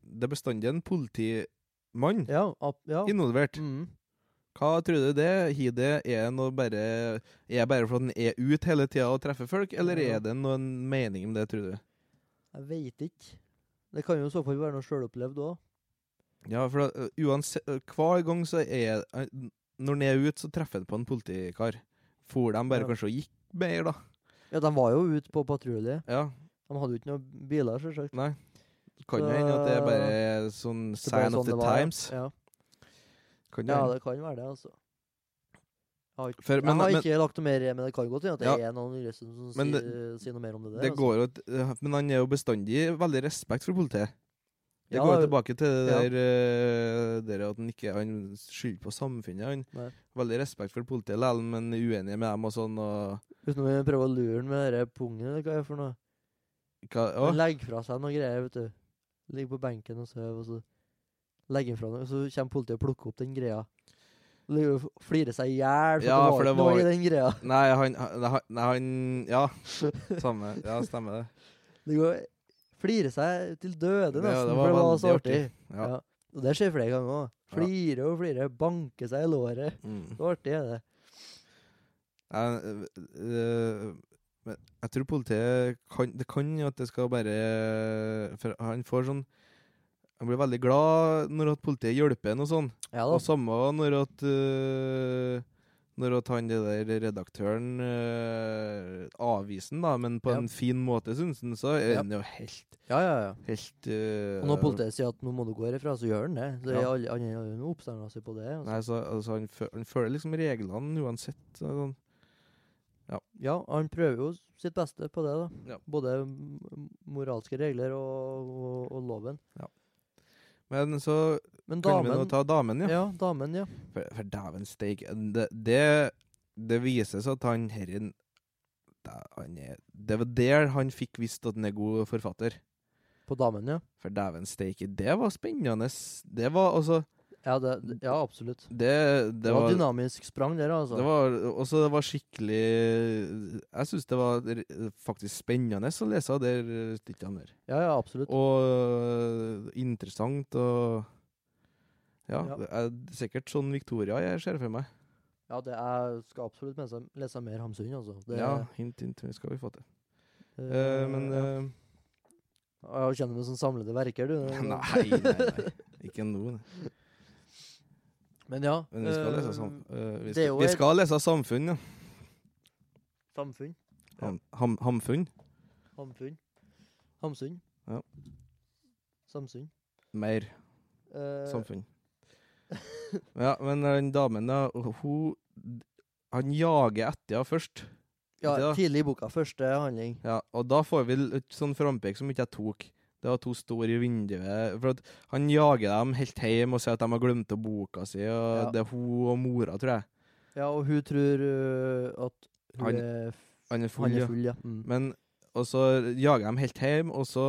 [SPEAKER 2] Det er bestandig en politimann
[SPEAKER 3] Ja. Ab, ja.
[SPEAKER 2] involvert.
[SPEAKER 3] Mm.
[SPEAKER 2] Hva tror du det har det? Er det noe bare Er det bare fordi den er ute hele tida og treffer folk, eller
[SPEAKER 3] Ja.
[SPEAKER 2] er det noen mening med det, tror du?
[SPEAKER 3] Jeg veit ikke. Det kan jo i så fall være noe sjølopplevd òg.
[SPEAKER 2] Ja, for da, ø, uansett ø, Hver gang så er ø, Når den er ute, så treffer den på en politikar. For de bare
[SPEAKER 3] Ja.
[SPEAKER 2] kanskje og gikk mer, da.
[SPEAKER 3] Ja, de var jo ute på patrulje.
[SPEAKER 2] Ja,
[SPEAKER 3] De hadde jo ikke noen biler, selvsagt.
[SPEAKER 2] nei. Kan jo hende at det er bare sånn
[SPEAKER 3] Det var
[SPEAKER 2] sign
[SPEAKER 3] sånn
[SPEAKER 2] of the
[SPEAKER 3] det var, ja.
[SPEAKER 2] times.
[SPEAKER 3] Ja.
[SPEAKER 2] Kan jo
[SPEAKER 3] ja,
[SPEAKER 2] hende.
[SPEAKER 3] det kan være det, altså. Jeg har ikke,
[SPEAKER 2] For, men,
[SPEAKER 3] jeg har
[SPEAKER 2] men,
[SPEAKER 3] ikke lagt noe mer i, men det kan godt hende at det
[SPEAKER 2] Ja.
[SPEAKER 3] er noen yngre som som
[SPEAKER 2] Men
[SPEAKER 3] sier, sier noe mer om det der.
[SPEAKER 2] det
[SPEAKER 3] altså.
[SPEAKER 2] går jo, t- men han er jo bestandig veldig respekt for politiet. Det
[SPEAKER 3] Ja,
[SPEAKER 2] går jo tilbake til det
[SPEAKER 3] ja.
[SPEAKER 2] der, eh, der at han ikke han skylder på samfunnet.
[SPEAKER 3] Nei.
[SPEAKER 2] Han Veldig respekt for politiet likevel, men uenig med dem og sånn. Og
[SPEAKER 3] Uten å prøve å lure han med den pungen, eller hva er det for noe.
[SPEAKER 2] hva, å,
[SPEAKER 3] Han legger fra seg noen greier, vet du. Ligger på benken og sover, og så legger han fra noe, og så kommer politiet og plukker opp den greia. Ligger og f- Flirer seg i hjel, for,
[SPEAKER 2] Ja,
[SPEAKER 3] det var ikke noe i den greia.
[SPEAKER 2] Nei, han, han, han- nei, han Ja, samme. Ja, stemmer det.
[SPEAKER 3] Ligger og flirer seg til døde,
[SPEAKER 2] Det-
[SPEAKER 3] nesten,
[SPEAKER 2] det var
[SPEAKER 3] for det var så
[SPEAKER 2] veldig
[SPEAKER 3] artig.
[SPEAKER 2] artig. Ja.
[SPEAKER 3] Ja. Og det skjer flere ganger òg.
[SPEAKER 2] Ja.
[SPEAKER 3] Flirer og flirer, banker seg i låret.
[SPEAKER 2] Mm.
[SPEAKER 3] Så artig er det.
[SPEAKER 2] Jeg, øh, men jeg tror politiet kan Det kan jo at det skal bare For han får sånn Han blir veldig glad når at politiet hjelper han og sånn.
[SPEAKER 3] Ja da.
[SPEAKER 2] Og samme når at øh, Når at han det der redaktøren øh, avviser han, da, men på
[SPEAKER 3] Ja.
[SPEAKER 2] en fin måte, syns han, så er
[SPEAKER 3] Ja.
[SPEAKER 2] han jo helt
[SPEAKER 3] Ja, ja, ja.
[SPEAKER 2] Helt øh,
[SPEAKER 3] Og når politiet sier at nå må du gå herifra, så gjør han det. Så
[SPEAKER 2] Ja.
[SPEAKER 3] ja. alle, alle, alle oppstemmer seg på det. og så-
[SPEAKER 2] Nei, så, altså, han, fø- han føler liksom reglene uansett. så Sånn.
[SPEAKER 3] Ja, han prøver jo sitt beste på det, da.
[SPEAKER 2] Ja.
[SPEAKER 3] Både m- moralske regler og, og, og loven.
[SPEAKER 2] Men så
[SPEAKER 3] Men
[SPEAKER 2] kan vi nå
[SPEAKER 3] damen
[SPEAKER 2] ta damen, ja.
[SPEAKER 3] ja. damen, ja.
[SPEAKER 2] For, for dæven steik det, det, det vises at han herren da- han er, Det var der han fikk visst at han er god forfatter.
[SPEAKER 3] På damen, ja.
[SPEAKER 2] For dæven steike, det var spennende. Det var altså
[SPEAKER 3] Ja, det, det- ja absolutt.
[SPEAKER 2] Det, det,
[SPEAKER 3] Det var,
[SPEAKER 2] var,
[SPEAKER 3] dynamisk sprang der, altså.
[SPEAKER 2] det var også det var skikkelig Jeg syns det var r- faktisk spennende å lese det stykket der.
[SPEAKER 3] ja, ja, absolutt.
[SPEAKER 2] Og øh, interessant og Ja.
[SPEAKER 3] Ja.
[SPEAKER 2] Det er sikkert sånn Victoria jeg ser for meg.
[SPEAKER 3] Ja, det er, skal absolutt lese, lese mer Hamsun, altså. Det,
[SPEAKER 2] Ja, hint, hint. Vi skal vi få til.
[SPEAKER 3] eh,
[SPEAKER 2] Eh, men
[SPEAKER 3] ja.
[SPEAKER 2] eh,
[SPEAKER 3] Ja, Jeg kjenner meg som samlede verker, du.
[SPEAKER 2] Nei, nei, nei. Ikke nå. nei.
[SPEAKER 3] Men ja.
[SPEAKER 2] Men vi skal
[SPEAKER 3] eh,
[SPEAKER 2] lese, sam eh, vi
[SPEAKER 3] det er
[SPEAKER 2] skal,
[SPEAKER 3] jo
[SPEAKER 2] vi
[SPEAKER 3] et-
[SPEAKER 2] skal lese samfunn, ja.
[SPEAKER 3] Samfunn.
[SPEAKER 2] Ham, ham, hamfunn.
[SPEAKER 3] Hamfunn. Hamsun.
[SPEAKER 2] Ja.
[SPEAKER 3] Samsunn.
[SPEAKER 2] Mer
[SPEAKER 3] Eh,
[SPEAKER 2] samfunn. Ja, men den damen, da, hun Han jager etter henne først.
[SPEAKER 3] ja,
[SPEAKER 2] det da.
[SPEAKER 3] tidlig i boka. Første handling.
[SPEAKER 2] Ja, og da får vi l- et sånn frampek som ikke jeg tok. Det var to står i vinduet For at han jager dem helt hjem og sier at de har glemt å boka si, og
[SPEAKER 3] Ja.
[SPEAKER 2] det er hun og mora, tror jeg.
[SPEAKER 3] Ja, og hun tror øh, at hun
[SPEAKER 2] Han-
[SPEAKER 3] er, f-
[SPEAKER 2] Han er full,
[SPEAKER 3] han er
[SPEAKER 2] ja.
[SPEAKER 3] full, ja. Mm.
[SPEAKER 2] Men Og så jager de helt hjem, og så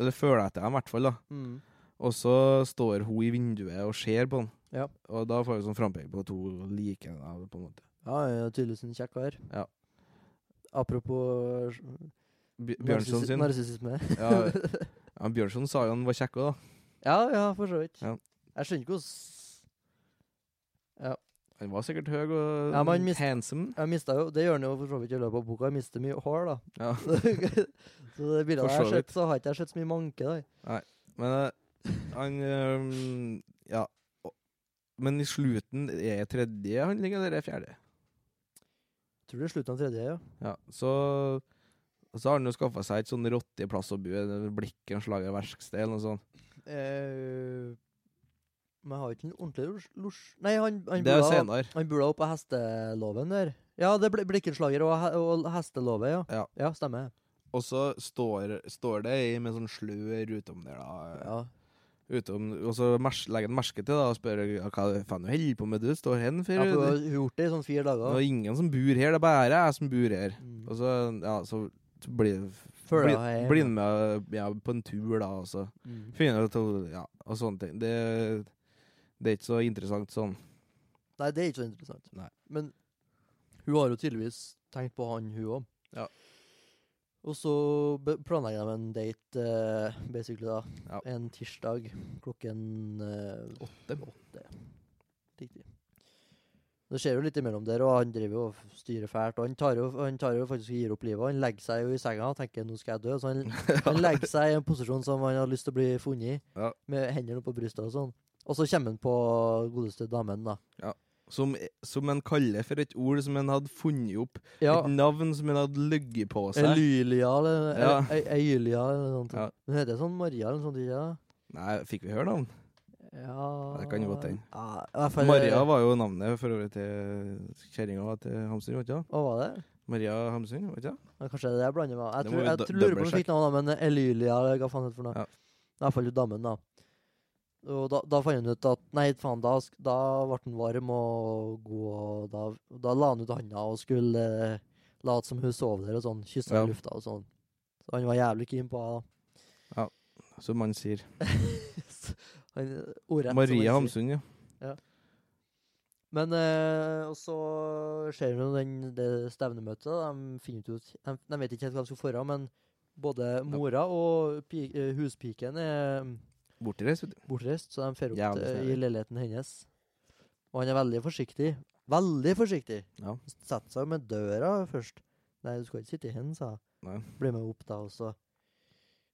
[SPEAKER 2] Eller føler etter dem, i hvert fall, da.
[SPEAKER 3] Mm.
[SPEAKER 2] Og så står hun i vinduet og ser på han.
[SPEAKER 3] Ja.
[SPEAKER 2] Og da får vi sånn frampek på at hun liker henne, på en måte.
[SPEAKER 3] Ja, han er tydeligvis en kjekk kar.
[SPEAKER 2] Ja.
[SPEAKER 3] Apropos øh,
[SPEAKER 2] Bj Bjørnson
[SPEAKER 3] narsis-
[SPEAKER 2] sin.
[SPEAKER 3] narsissisme.
[SPEAKER 2] Ja, ja, Bjørnson sa jo han var kjekk òg, da.
[SPEAKER 3] ja, ja, for så vidt.
[SPEAKER 2] Ja.
[SPEAKER 3] Jeg skjønner ikke hvordan
[SPEAKER 2] Han var sikkert høy og
[SPEAKER 3] Ja, men han mist-
[SPEAKER 2] handsome.
[SPEAKER 3] Jeg mistet jo, Det gjør han jo for så vidt i løpet av boka. Jeg mister mye hår, da.
[SPEAKER 2] Ja.
[SPEAKER 3] så det bildet
[SPEAKER 2] For
[SPEAKER 3] jeg har
[SPEAKER 2] så vidt.
[SPEAKER 3] sett, så har ikke jeg sett så mye manke. da.
[SPEAKER 2] Men eh, han ehm, Ja. Og- Men i slutten er tredje handling, eller er fjerde?
[SPEAKER 3] Tror det er slutten av tredje, ja.
[SPEAKER 2] Ja, så så har han jo skaffa seg et sånn rotte plass å bo, det blikket han slager verksted eller noe sånt.
[SPEAKER 3] Eh, men jeg har ikke en ordentlig losj losj- Nei, han, han
[SPEAKER 2] Det er
[SPEAKER 3] bor da-
[SPEAKER 2] senere.
[SPEAKER 3] Han bor da oppe på hesteloven der. Ja, det ble blikkenslager og, he og hestelovet, ja.
[SPEAKER 2] Ja.
[SPEAKER 3] stemmer.
[SPEAKER 2] Og så står, står det ei med sånn slør utom der, da.
[SPEAKER 3] Ja.
[SPEAKER 2] utom, og så mers, legger han merke til det og spør ja, hva faen du holder på med, du står hen for
[SPEAKER 3] Ja, for hun
[SPEAKER 2] det,
[SPEAKER 3] har gjort det i sånn fire
[SPEAKER 2] det
[SPEAKER 3] dager.
[SPEAKER 2] er ingen som bor her, det er bare jeg som bor her.
[SPEAKER 3] Mm.
[SPEAKER 2] Og så, ja, så blir
[SPEAKER 3] Føler
[SPEAKER 2] bli,
[SPEAKER 3] jeg-
[SPEAKER 2] blir han med ja, på en tur, da, og så
[SPEAKER 3] Mm.
[SPEAKER 2] finner ut at- ja, og sånne ting. Det, det er ikke så interessant sånn.
[SPEAKER 3] Nei, det er ikke så interessant.
[SPEAKER 2] Nei.
[SPEAKER 3] Men hun har jo tydeligvis tenkt på han, hun òg.
[SPEAKER 2] Ja.
[SPEAKER 3] Og så be- planlegger de en date, eh, basically, da.
[SPEAKER 2] Ja.
[SPEAKER 3] En tirsdag klokken eh, åtte. Riktig. Det skjer jo litt imellom der, og han driver jo og f- styrer fælt. Og han tar jo, han tar jo faktisk og gir opp livet. Han legger seg jo i senga og tenker 'nå skal jeg dø'. Så han, han legger seg i en posisjon som han har lyst til å bli funnet i,
[SPEAKER 2] Ja.
[SPEAKER 3] med hendene på brystet og sånn. Og så kommer han på godeste damen, da.
[SPEAKER 2] Som, som en kaller for et ord som en hadde funnet opp.
[SPEAKER 3] Ja,
[SPEAKER 2] Et navn som en hadde ligget på seg.
[SPEAKER 3] Elylia eller
[SPEAKER 2] Ja.
[SPEAKER 3] eller- E- Eilylia eller noe sånt.
[SPEAKER 2] Ja.
[SPEAKER 3] Hun heter sånn Maria eller noe sånt, ikke det?
[SPEAKER 2] Nei, fikk vi høre navn?
[SPEAKER 3] Ja
[SPEAKER 2] Det kan jo godt hende.
[SPEAKER 3] Ja, i hvert fall- eh,
[SPEAKER 2] Maria var jo navnet for øvrig til kjerringa til Hamsun, var ikke det?
[SPEAKER 3] Hva var det?
[SPEAKER 2] Maria Hamsun, var ikke det?
[SPEAKER 3] Ja, kanskje det er det jeg blander med. Jeg
[SPEAKER 2] Det må
[SPEAKER 3] tror
[SPEAKER 2] vi
[SPEAKER 3] jeg
[SPEAKER 2] dø-
[SPEAKER 3] tror lurer på om hun
[SPEAKER 2] dobbeltsjekke.
[SPEAKER 3] fikk navnet, men Elylia eller hva faen heter det for noe.
[SPEAKER 2] Ja.
[SPEAKER 3] I hvert fall hun damen, da. Og da, da fant han ut at Nei, faen, da, sk- da ble han varm og god, og da, da la han ut handa og skulle eh, late som hun sov der, og sånn. Kysse henne
[SPEAKER 2] Ja.
[SPEAKER 3] i lufta og sånn. Så han var jævlig keen på henne,
[SPEAKER 2] som man sier.
[SPEAKER 3] da. Så han, ordrett, som han
[SPEAKER 2] Maria
[SPEAKER 3] sier.
[SPEAKER 2] Hamsun, ja.
[SPEAKER 3] Men eh, og så skjer det jo den, det stevnemøtet. De, finner ikke ut, de, de vet ikke helt hva de skal forha, men både mora og pi, eh, huspiken er
[SPEAKER 2] Bortreist, vet du.
[SPEAKER 3] bortreist, så de drar opp
[SPEAKER 2] Jævlig
[SPEAKER 3] til- i
[SPEAKER 2] snedig.
[SPEAKER 3] leiligheten hennes. Og han er veldig forsiktig. Veldig forsiktig.
[SPEAKER 2] Ja.
[SPEAKER 3] Setter seg med døra først. Nei, du skal ikke sitte i hen, sa
[SPEAKER 2] Nei.
[SPEAKER 3] hun. Bli med opp, da, og så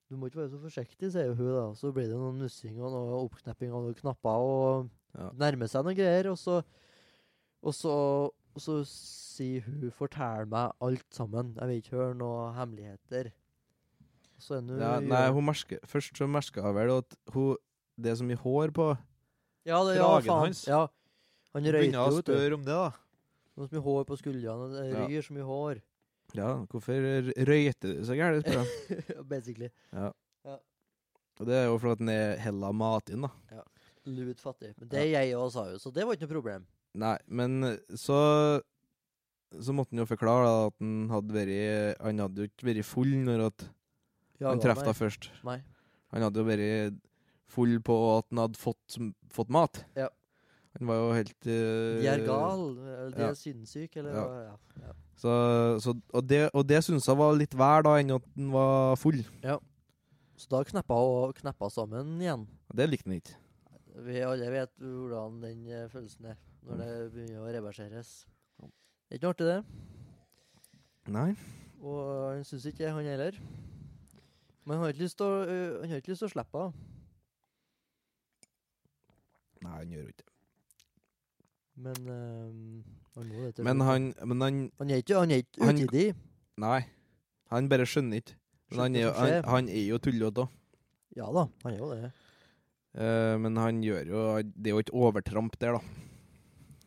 [SPEAKER 3] Du må ikke være så forsiktig, sier hun, da. Så blir det noe nussing og noe oppknepping av noen knapper og
[SPEAKER 2] Ja.
[SPEAKER 3] nærmer seg noen greier, og så Og så, og så sier hun 'fortell meg alt sammen', jeg vil ikke høre noe hemmeligheter. Så er hun
[SPEAKER 2] Ja, nei, hun mersker, først så merka jeg vel at hun Det er så mye hår på
[SPEAKER 3] Ja, det, ja,
[SPEAKER 1] Kragen
[SPEAKER 3] faen.
[SPEAKER 1] hans.
[SPEAKER 3] Ja. Han røyter
[SPEAKER 1] Begynner å
[SPEAKER 3] jo, vet du.
[SPEAKER 1] spørre om det, da.
[SPEAKER 3] Han har så mye hår på skuldrene, og det
[SPEAKER 2] Ja.
[SPEAKER 3] ryr så mye hår.
[SPEAKER 2] Ja, hvorfor røyter du så gærent, spør jeg.
[SPEAKER 3] Basically.
[SPEAKER 2] Og det er jo fordi at den er hella matin, da.
[SPEAKER 3] Lut fattig. Men det jeg òg sa jo, så det var ikke noe problem.
[SPEAKER 2] Nei, men eh, så Så måtte han jo forklare da, at han hadde vært Han hadde jo ikke vært full når at han traff henne først.
[SPEAKER 3] Nei.
[SPEAKER 2] Han hadde jo vært full på at han hadde fått, fått mat.
[SPEAKER 3] Ja.
[SPEAKER 2] Han var jo helt eh,
[SPEAKER 3] De er gal, eller de
[SPEAKER 2] ja.
[SPEAKER 3] er sinnssyke, eller
[SPEAKER 2] Ja.
[SPEAKER 3] hva- ja. ja.
[SPEAKER 2] Så, så, og det, og det syns jeg var litt vær da, enn at han var full.
[SPEAKER 3] Så da kneppa hun kneppa sammen igjen.
[SPEAKER 2] Det likte han ikke.
[SPEAKER 3] Vi alle vet hvordan den eh, følelsen er når
[SPEAKER 2] Mm.
[SPEAKER 3] det begynner å reverseres. Det er ikke noe artig, det.
[SPEAKER 2] Nei.
[SPEAKER 3] Og han syns ikke det, han heller. Men han har ikke lyst til å, øh, han har ikke lyst til å slippe henne.
[SPEAKER 2] Nei, han gjør jo ikke det.
[SPEAKER 3] Men øhm, han må det til
[SPEAKER 2] Men
[SPEAKER 3] slutt.
[SPEAKER 2] han, men han
[SPEAKER 3] Han er ikke, han er ikke
[SPEAKER 2] Han-
[SPEAKER 3] utidig.
[SPEAKER 2] Nei. Han bare skjønner ikke. Men han
[SPEAKER 3] Skjønner
[SPEAKER 2] er, jo-
[SPEAKER 3] hva som
[SPEAKER 2] han,
[SPEAKER 3] skjer.
[SPEAKER 2] han er jo tullete òg.
[SPEAKER 3] Ja da, han er jo det.
[SPEAKER 2] Eh, men han gjør jo Det er jo ikke overtramp der, da.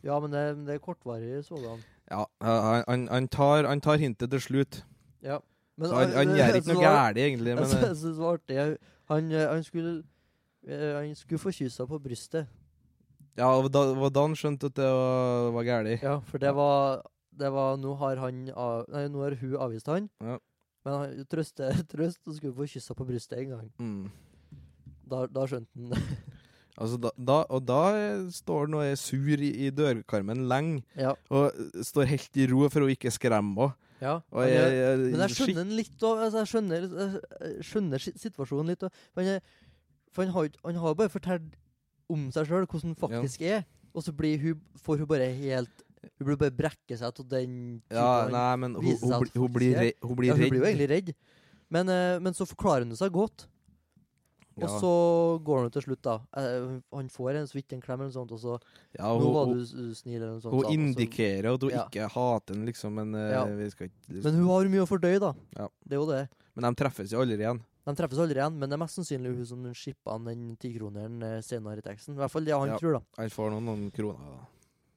[SPEAKER 3] Ja, men det, men det er kortvarig sådan.
[SPEAKER 2] Ja, han, han, han, tar, han tar hintet til slutt.
[SPEAKER 3] Ja. Men,
[SPEAKER 2] så han, han
[SPEAKER 3] øh,
[SPEAKER 2] gjør ikke noe
[SPEAKER 3] jeg synes det var-
[SPEAKER 2] gærent, egentlig.
[SPEAKER 3] Jeg
[SPEAKER 2] Men eh,
[SPEAKER 3] synes det var artig. Jeg- Han, øh, han skulle øh, Han skulle få kyssa på brystet.
[SPEAKER 2] ja, det var da, det var da han skjønte at det var, var gærent.
[SPEAKER 3] Ja, for det var, det var Nå har han av, Nei, nå har hun avvist han.
[SPEAKER 2] Ja.
[SPEAKER 3] Men han trøste, trøst, og skulle få kyssa på brystet en gang.
[SPEAKER 2] Mm.
[SPEAKER 3] Da, da skjønte han det.
[SPEAKER 2] Altså, da, da, og da eh, står han og er sur i, i dørkarmen lenge.
[SPEAKER 3] Ja.
[SPEAKER 2] Og eh, står helt i ro for å ikke skremme henne.
[SPEAKER 3] ja.
[SPEAKER 2] Og
[SPEAKER 3] han
[SPEAKER 2] jeg,
[SPEAKER 3] gjør-
[SPEAKER 2] jeg,
[SPEAKER 3] Men jeg
[SPEAKER 2] skikk-
[SPEAKER 3] skjønner den litt òg. Altså, jeg skjønner, jeg skjønner si- situasjonen litt. og- For han, er- for han har jo han har jo bare fortalt om seg sjøl hvordan han faktisk er, og så blir hun, får hun bare helt Hun blir bare brekke seg til den typen
[SPEAKER 2] ja,
[SPEAKER 3] han-
[SPEAKER 2] nei, men hun,
[SPEAKER 3] viser
[SPEAKER 2] hun,
[SPEAKER 3] seg at
[SPEAKER 2] bli- hun, blir,
[SPEAKER 3] faktisk
[SPEAKER 2] re, hun blir
[SPEAKER 3] ja,
[SPEAKER 2] redd.
[SPEAKER 3] Hun blir jo egentlig redd. Men, eh, men så forklarer hun seg godt, og
[SPEAKER 2] Ja.
[SPEAKER 3] så går han til slutt, da. Eh, han får en så vidt en klem eller noe sånt, og så
[SPEAKER 2] Ja, hun,
[SPEAKER 3] Nå var
[SPEAKER 2] hun-
[SPEAKER 3] du s- snill, eller noe sånt.
[SPEAKER 2] Hun
[SPEAKER 3] sa han, og så-
[SPEAKER 2] indikerer at hun
[SPEAKER 3] Ja.
[SPEAKER 2] ikke hater den, liksom, men eh,
[SPEAKER 3] Ja.
[SPEAKER 2] vi skal ikke
[SPEAKER 3] Men hun har mye å fordøye, da.
[SPEAKER 2] Ja.
[SPEAKER 3] Det er jo det.
[SPEAKER 2] Men de treffes jo aldri igjen.
[SPEAKER 3] De treffes aldri igjen, men det er mest sannsynlig hun som skippa han den tikroneren eh, senere i teksten. I hvert fall det han
[SPEAKER 2] Ja.
[SPEAKER 3] tror, da.
[SPEAKER 2] Han får noen, noen kroner. da.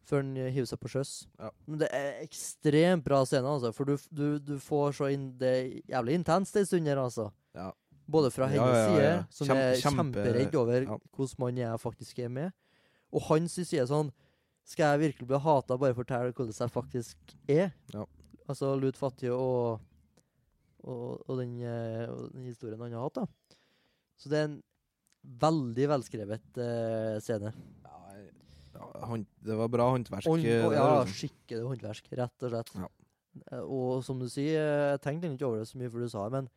[SPEAKER 3] Før han eh, hiver seg på sjøs.
[SPEAKER 2] Ja.
[SPEAKER 3] Men det er ekstremt bra scene, altså. For du, du, du får så inn Det er jævlig intenst en stund her, altså.
[SPEAKER 2] Ja.
[SPEAKER 3] Både fra
[SPEAKER 2] Ja,
[SPEAKER 3] hennes
[SPEAKER 2] ja, ja, ja.
[SPEAKER 3] side, som
[SPEAKER 2] Kjempe-
[SPEAKER 3] er
[SPEAKER 2] kjempe-
[SPEAKER 3] kjemperedd over
[SPEAKER 2] ja.
[SPEAKER 3] hvordan man jeg faktisk er med, og hans side sånn Skal jeg virkelig bli hata bare for å fortelle hvordan jeg faktisk er?
[SPEAKER 2] Ja.
[SPEAKER 3] Altså Lut Fattig og, og, og, den, eh, og den historien han har hatt, da. Så det er en veldig velskrevet eh, scene.
[SPEAKER 2] Ja, hånd, det var bra håndverk.
[SPEAKER 3] Hånd-
[SPEAKER 2] eh,
[SPEAKER 3] og,
[SPEAKER 2] der,
[SPEAKER 3] ja,
[SPEAKER 2] altså.
[SPEAKER 3] skikkelig håndverk, rett og slett.
[SPEAKER 2] Ja.
[SPEAKER 3] Eh, Og som du sier, eh, jeg tenkte egentlig ikke over det så mye før du sa det, men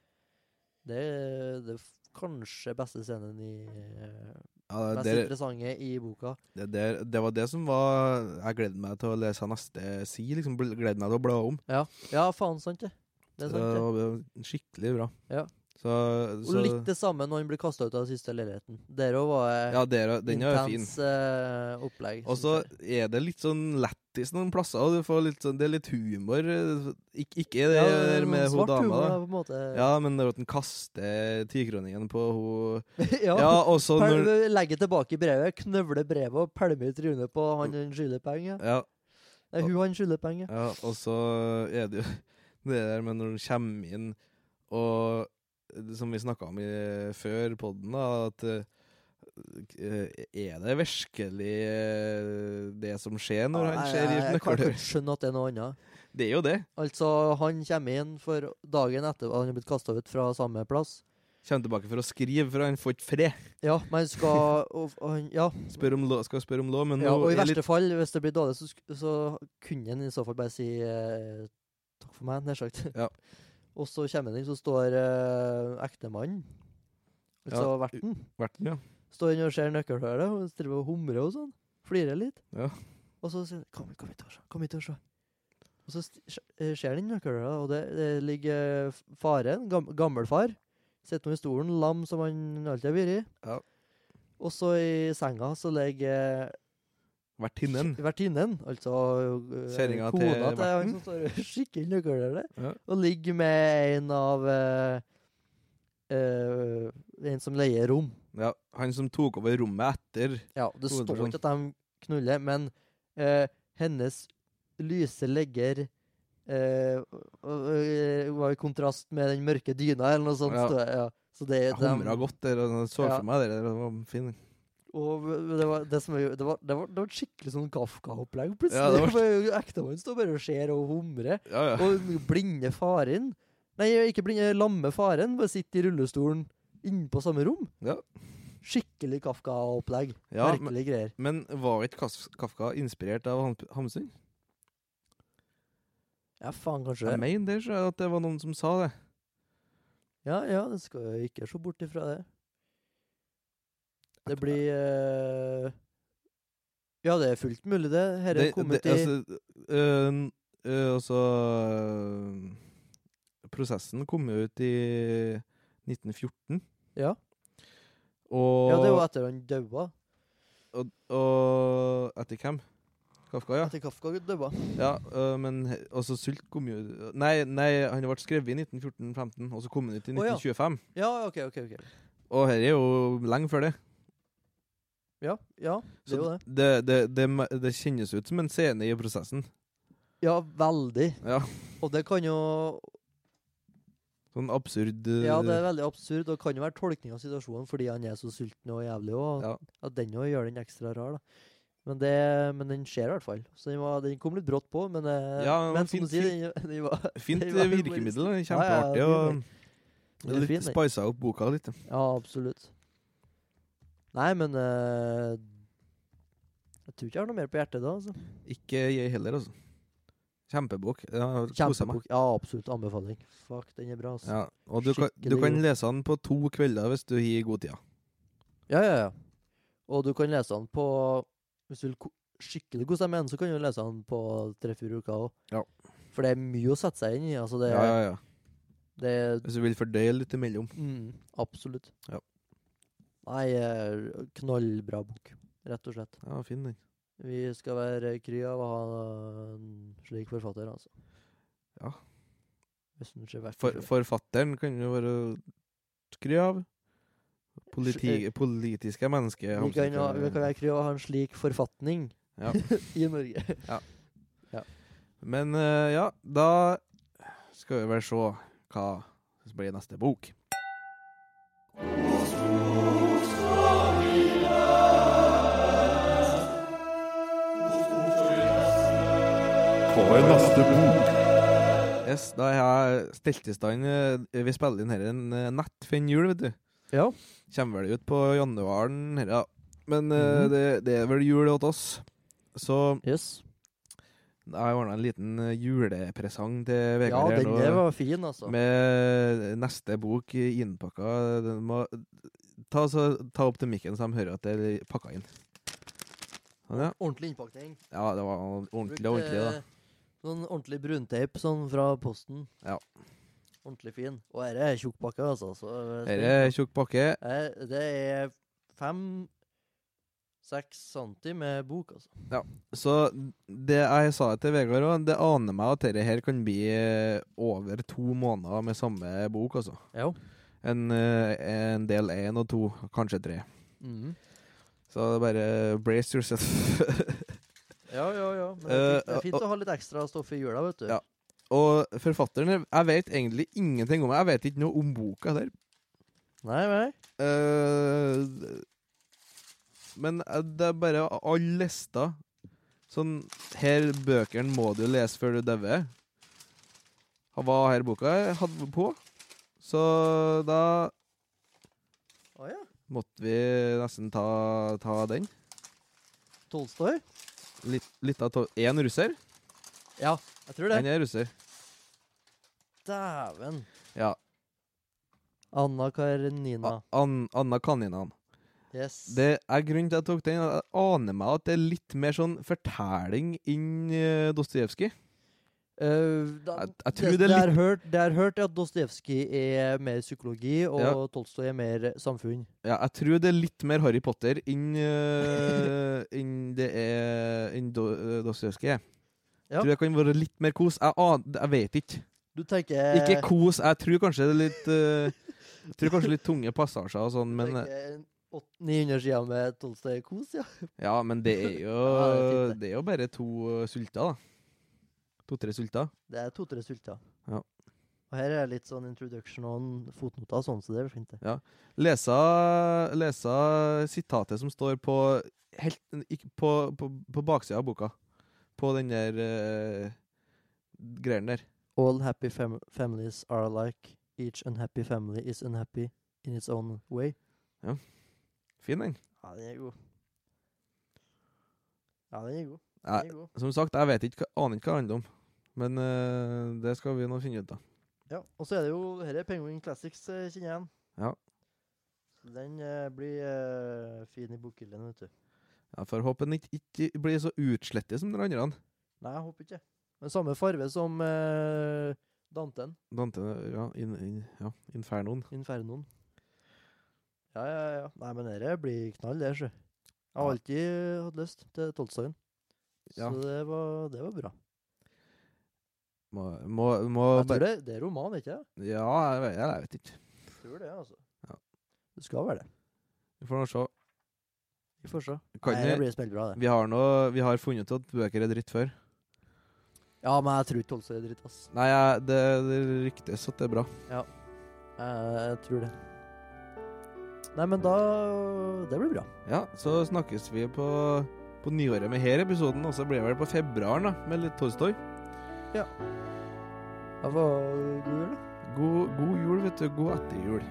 [SPEAKER 3] det er, det er f- kanskje beste scenen i eh,
[SPEAKER 2] ja,
[SPEAKER 3] Mest
[SPEAKER 2] det,
[SPEAKER 3] interessante i boka.
[SPEAKER 2] det, der- det var det som var Jeg gleder meg til å lese neste side. Liksom, bl- gleder meg til å bla om.
[SPEAKER 3] Ja, faen, sant det. Det er
[SPEAKER 2] det,
[SPEAKER 3] sant det.
[SPEAKER 2] var skikkelig bra.
[SPEAKER 3] Ja.
[SPEAKER 2] Så,
[SPEAKER 3] Og
[SPEAKER 2] så
[SPEAKER 3] litt det samme når han blir kasta ut av den siste leiligheten. Der òg var det
[SPEAKER 2] Ja, der, den er jo fin.
[SPEAKER 3] intens eh, opplegg.
[SPEAKER 2] Og så er det litt sånn lættis noen plasser. Og du får litt sånn, det er litt humor. Ik ikke det der med hun dama, da.
[SPEAKER 3] På en måte.
[SPEAKER 2] Ja, men det er at han kaster tikroningen på hun
[SPEAKER 3] ja.
[SPEAKER 2] Ja, og så
[SPEAKER 3] Pel-
[SPEAKER 2] når
[SPEAKER 3] Legger tilbake brevet, knøvler brevet og pælmer ut trynet på han
[SPEAKER 2] Mm.
[SPEAKER 3] han skylder penger.
[SPEAKER 2] ja,
[SPEAKER 3] Nei, hun han skylder penger.
[SPEAKER 2] ja, og så er det jo det der med når han kommer inn og eh, som vi snakka om i, før podden, da, at eh, eh, Er det virkelig eh, det som skjer når han
[SPEAKER 3] Nei,
[SPEAKER 2] ser
[SPEAKER 3] jeg-
[SPEAKER 2] i
[SPEAKER 3] Jeg kan ikke
[SPEAKER 2] nøkkelhølet?
[SPEAKER 3] skjønne at det er noe annet.
[SPEAKER 2] Det er jo det.
[SPEAKER 3] Altså, han kommer inn for dagen etter at han er blitt kasta ut fra samme plass.
[SPEAKER 2] Kommer tilbake for å skrive, for han får ikke fred.
[SPEAKER 3] Ja, men skal og, og, han- Ja,
[SPEAKER 2] Spør om lov, skal spørre om lov, men
[SPEAKER 3] Ja,
[SPEAKER 2] nå
[SPEAKER 3] og i
[SPEAKER 2] er
[SPEAKER 3] verste
[SPEAKER 2] litt
[SPEAKER 3] fall, hvis det blir dårlig, så, sk- så kunne han i så fall bare si eh, takk for meg, nær sagt.
[SPEAKER 2] Ja.
[SPEAKER 3] Og så kommer han inn, så står eh, ektemannen, altså
[SPEAKER 2] Ja,
[SPEAKER 3] verten,
[SPEAKER 2] verten, ja.
[SPEAKER 3] står inne og ser nøkkelhølet og driver og humrer og sånn. Flirer litt.
[SPEAKER 2] Ja.
[SPEAKER 3] Og så sier han 'kom hit, kom hit og se'. Kom hit og se. Og så st- sj- eh, ser han inn i nøkkelhølet, og det, det ligger eh, f- faren, gam, gammelfar, sitter nå i stolen, lam som han alltid har vært i.
[SPEAKER 2] Ja.
[SPEAKER 3] Og så i senga så ligger eh,
[SPEAKER 2] Vertinnen.
[SPEAKER 3] Vertinnen, altså øh,
[SPEAKER 2] Kjerringa
[SPEAKER 3] kona
[SPEAKER 2] til
[SPEAKER 3] til han
[SPEAKER 2] verten.
[SPEAKER 3] som står og skikkelig nøkler der,
[SPEAKER 2] Ja.
[SPEAKER 3] og ligger med en av øh, øh, En som leier rom.
[SPEAKER 2] Ja, han som tok over rommet etter.
[SPEAKER 3] Ja, det står
[SPEAKER 2] Hovedperson.
[SPEAKER 3] ikke at de knuller, men øh, hennes lyse legger øh, øh, øh, var i kontrast med den mørke dyna, eller noe sånt.
[SPEAKER 2] Ja.
[SPEAKER 3] står det, ja. Så det,
[SPEAKER 2] Jeg humra
[SPEAKER 3] dem-
[SPEAKER 2] godt der, og så
[SPEAKER 3] Ja.
[SPEAKER 2] for meg det der. Det var fin.
[SPEAKER 3] Og v- det var, det som, er- det var, det var, det var et skikkelig sånn Kafka-opplegg,
[SPEAKER 2] Ja, det
[SPEAKER 3] plutselig.
[SPEAKER 2] var-
[SPEAKER 3] for Ektemannen står bare og ser og humrer.
[SPEAKER 2] Ja, ja.
[SPEAKER 3] Og den blinde faren Nei, ikke blinde, lamme faren bare sitter i rullestolen inne på samme rom.
[SPEAKER 2] Ja.
[SPEAKER 3] Skikkelig Kafka-opplegg.
[SPEAKER 2] ja men,
[SPEAKER 3] Merkelige greier.
[SPEAKER 2] men var ikke Kas- Kafka inspirert av Ham- Hamsun?
[SPEAKER 3] Ja, faen, kanskje.
[SPEAKER 2] Jeg mener det, så jeg, at det var noen som sa det.
[SPEAKER 3] Ja, ja, du skal jo ikke se bort ifra det. Det
[SPEAKER 2] At-
[SPEAKER 3] blir eh, Ja, det er fullt mulig, det. Her er
[SPEAKER 2] Det-
[SPEAKER 3] kommet
[SPEAKER 2] det-
[SPEAKER 3] i
[SPEAKER 2] altså, øh, n- øh, altså, øh, Prosessen kom jo ut i 1914.
[SPEAKER 3] Ja.
[SPEAKER 2] Og,
[SPEAKER 3] Ja, det er jo etter han daua.
[SPEAKER 2] og, og Etter hvem? Kafka, ja.
[SPEAKER 3] Etter Kafka daua.
[SPEAKER 2] ja øh, men he- også Sult kom jo Nei, nei han ble skrevet i 1914-15, og så kom han ut i
[SPEAKER 3] Å, ja.
[SPEAKER 2] 1925.
[SPEAKER 3] Ja, OK, OK. ok.
[SPEAKER 2] Og her er jo lenge før det.
[SPEAKER 3] Ja, ja, det
[SPEAKER 2] Så
[SPEAKER 3] er jo det.
[SPEAKER 2] det, det, det, me- det kjennes ut som en scene i prosessen.
[SPEAKER 3] Ja, veldig.
[SPEAKER 2] Ja.
[SPEAKER 3] Og det kan jo
[SPEAKER 2] Sånn absurd øh,
[SPEAKER 3] Ja, det er veldig absurd, og kan jo være tolkning av situasjonen fordi han er så sulten og jævlig, og
[SPEAKER 2] Ja.
[SPEAKER 3] at den jo gjør den ekstra rar, da. Men, det, men den skjer i hvert fall. Så den, var, den kom litt brått på, men, eh,
[SPEAKER 2] Ja,
[SPEAKER 3] men som
[SPEAKER 2] fint-
[SPEAKER 3] du sier, den, den var
[SPEAKER 2] Fint
[SPEAKER 3] Det var
[SPEAKER 2] eh,
[SPEAKER 3] humorisk.
[SPEAKER 2] virkemiddel. det er
[SPEAKER 3] Ja, ja,
[SPEAKER 2] Kjempeartig.
[SPEAKER 3] ja,
[SPEAKER 2] og
[SPEAKER 3] den er
[SPEAKER 2] litt
[SPEAKER 3] fin, den.
[SPEAKER 2] spisa opp boka litt.
[SPEAKER 3] Ja, absolutt. Nei, men eh, Jeg tror ikke jeg har noe mer på hjertet da, altså.
[SPEAKER 2] Ikke jeg heller, altså. Kjempebok. Ja, kosa meg.
[SPEAKER 3] Kjempebok. Ja, absolutt anbefaling. Fuck, den er bra, altså.
[SPEAKER 2] Ja, og du kan, du
[SPEAKER 3] Skikkelig
[SPEAKER 2] kan
[SPEAKER 3] god.
[SPEAKER 2] lese den på to kvelder hvis du har god tid.
[SPEAKER 3] Ja, ja, ja. Og du kan lese den på Hvis du vil ko- skikkelig kose deg med den, så kan du lese den på tre-fire uker òg.
[SPEAKER 2] Ja.
[SPEAKER 3] For det er mye å sette seg inn i. Altså det,
[SPEAKER 2] Ja, ja, ja.
[SPEAKER 3] det er
[SPEAKER 2] Hvis du vil fordøye litt imellom.
[SPEAKER 3] mm, Absolutt.
[SPEAKER 2] Ja.
[SPEAKER 3] Nei, eh, knallbra bok, rett og slett.
[SPEAKER 2] Ja, fin den.
[SPEAKER 3] Vi skal være kry av å ha en slik forfatter, altså.
[SPEAKER 2] Ja.
[SPEAKER 3] Hvis den ser vekk
[SPEAKER 2] For, forfatteren kan jo være skry av. Politi,
[SPEAKER 3] Sj-
[SPEAKER 2] politiske mennesker.
[SPEAKER 3] vi,
[SPEAKER 2] Hamsun,
[SPEAKER 3] kan, ha- vi kan
[SPEAKER 2] kan-
[SPEAKER 3] være kry av å ha en slik forfatning
[SPEAKER 2] Ja.
[SPEAKER 3] i Norge.
[SPEAKER 2] Men eh, ja, da skal vi vel se hva som blir neste bok.
[SPEAKER 1] Hva er neste bok?
[SPEAKER 2] Yes, da har jeg stelt i stand eh, Vi spiller inn her en eh, natt for en jul, vet du.
[SPEAKER 3] Ja.
[SPEAKER 2] Kommer vel ut på januaren her, ja. Men eh,
[SPEAKER 3] Mhm.
[SPEAKER 2] det, det er vel jul hos oss. Så
[SPEAKER 3] Yes.
[SPEAKER 2] jeg har ordna en liten eh, julepresang til
[SPEAKER 3] Ja,
[SPEAKER 2] Vegard her eh,
[SPEAKER 3] den der var fin, altså.
[SPEAKER 2] Med eh, neste bok i- innpakka. Den må ta, så, ta opp til mikken, så de hører at det er pakka inn. Sånn, ja.
[SPEAKER 3] Ordentlig innpakning.
[SPEAKER 2] ja, det var ordentlig, ordentlig, da.
[SPEAKER 3] Brukte Sånn ordentlig brunteip sånn fra posten.
[SPEAKER 2] Ja.
[SPEAKER 3] Ordentlig fin. Og dette er tjukkpakke, altså. Så
[SPEAKER 2] Dette er tjukk pakke.
[SPEAKER 3] Eh, det er fem Seks centi med bok, altså.
[SPEAKER 2] Så det jeg sa til Vegard òg, det aner meg at dette her kan bli eh, over to måneder med samme bok, altså.
[SPEAKER 3] Ja.
[SPEAKER 2] En, eh, en del én og to, kanskje tre.
[SPEAKER 3] Mm.
[SPEAKER 2] Så det er bare brace yourself.
[SPEAKER 3] Ja, ja, ja. Men det er
[SPEAKER 2] Eh,
[SPEAKER 3] fint, det er fint
[SPEAKER 2] og-
[SPEAKER 3] å ha litt ekstra stoff i jula, vet du.
[SPEAKER 2] Ja. Og forfatteren Jeg vet egentlig ingenting om det. Jeg vet ikke noe om boka der.
[SPEAKER 3] Nei, nei.
[SPEAKER 2] Eh, men eh, det er bare alle lister Sånn Her bøkene må du lese før du dauer. Hva her boka hadde på. Så da
[SPEAKER 3] Å ja.
[SPEAKER 2] måtte vi nesten ta, ta den.
[SPEAKER 3] Tolstoy?
[SPEAKER 2] Litt, litt av to- én russer.
[SPEAKER 3] Ja, jeg tror det.
[SPEAKER 2] Den er russer.
[SPEAKER 3] Dæven.
[SPEAKER 2] Ja.
[SPEAKER 3] Anna Karenina.
[SPEAKER 2] A- An, Anna Kaninan.
[SPEAKER 3] Yes.
[SPEAKER 2] Det er grunnen til at jeg tok den. Jeg aner meg at det er litt mer sånn fortelling enn eh, Dostojevskij.
[SPEAKER 3] Eh, da,
[SPEAKER 2] Jeg- jeg tror det er
[SPEAKER 3] det, er hørt, det er hørt at Dostojevskij er mer psykologi, og
[SPEAKER 2] Ja.
[SPEAKER 3] Tolstoy er mer samfunn.
[SPEAKER 2] Ja, jeg tror det er litt mer Harry Potter enn eh, enn det er enn Do, eh, Dostojevskij. er.
[SPEAKER 3] Ja.
[SPEAKER 2] Tror jeg kan være litt mer kos. Jeg, aner, jeg vet ikke.
[SPEAKER 3] Du tenker
[SPEAKER 2] Ikke kos. Jeg tror kanskje det er litt eh, Jeg tror kanskje litt tunge passasjer og sånn, men eh,
[SPEAKER 3] tenker åt- 900 sider med Tolstoy kos, ja.
[SPEAKER 2] Ja, men det er jo
[SPEAKER 3] Ja, det er fint, det.
[SPEAKER 2] Det er jo bare to eh, sulter, da. To-tre sulter.
[SPEAKER 3] Det er to-tre sulter.
[SPEAKER 2] Ja.
[SPEAKER 3] Og her er litt sånn introduction og en fotnoter og sånn, så det er fint, det.
[SPEAKER 2] Lese, lese sitatet som står på helt, ikk- på, på, på baksida av boka. På den der uh, greia der.
[SPEAKER 3] All happy fam families are alike. Each unhappy family is unhappy in its own way.
[SPEAKER 2] Fin, den.
[SPEAKER 3] Ja, den er god. Ja, den er god.
[SPEAKER 2] Jeg,
[SPEAKER 3] Den er god.
[SPEAKER 2] som sagt, jeg vet ikke, hva- aner ikke hva det handler om. Men eh, det skal vi nå finne ut av.
[SPEAKER 3] Ja, og så er det jo Her er Penguin Classics, eh, kjenner jeg igjen.
[SPEAKER 2] Ja.
[SPEAKER 3] Så den eh, blir eh, fin i bokhyllen, vet du.
[SPEAKER 2] Jeg får håpe den ikke, ikke blir så utslettet som de andre.
[SPEAKER 3] Nei, jeg håper ikke. Men samme farve som eh, Danten.
[SPEAKER 2] Dante, ja, in, in, ja, Infernoen.
[SPEAKER 3] Infernoen. Ja, ja, ja. Nei, men dette blir knall, det, sjø.
[SPEAKER 2] Ja.
[SPEAKER 3] Jeg har alltid hatt lyst til Tolstoyen. Så
[SPEAKER 2] Ja.
[SPEAKER 3] det, var, det var bra.
[SPEAKER 2] Må, må, må
[SPEAKER 3] Jeg tror
[SPEAKER 2] bare
[SPEAKER 3] det, det er roman, ikke det?
[SPEAKER 2] Ja, jeg vet, jeg vet ikke.
[SPEAKER 3] Jeg tror det, altså.
[SPEAKER 2] Ja.
[SPEAKER 3] Det skal være det.
[SPEAKER 2] Vi får nå se.
[SPEAKER 3] Vi får se.
[SPEAKER 2] Kan
[SPEAKER 3] Nei, det
[SPEAKER 2] vi,
[SPEAKER 3] blir smellbra, det.
[SPEAKER 2] vi, har nå- vi har funnet ut at bøker er dritt før.
[SPEAKER 3] Ja, men jeg tror ikke Tolstoy er dritt, ass.
[SPEAKER 2] Nei, jeg, det, det ryktes at det er bra.
[SPEAKER 3] Eh, Jeg tror det. Nei, men da Det blir bra.
[SPEAKER 2] Ja, så snakkes vi på, på nyåret med her episoden, og så blir det vel på februaren da, med litt Tolstoy.
[SPEAKER 3] Jeg får god jul, da.
[SPEAKER 2] God, god jul, vet du. God etterjul.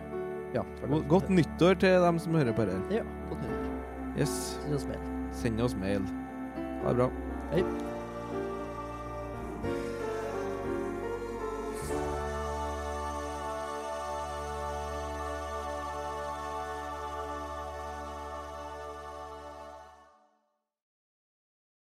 [SPEAKER 3] Ja,
[SPEAKER 2] God, godt nyttår til dem som hører på her.
[SPEAKER 3] Ja, godt nytt.
[SPEAKER 2] Yes,
[SPEAKER 3] Synes mer.
[SPEAKER 2] send oss mail. Ha det bra.
[SPEAKER 3] Hei.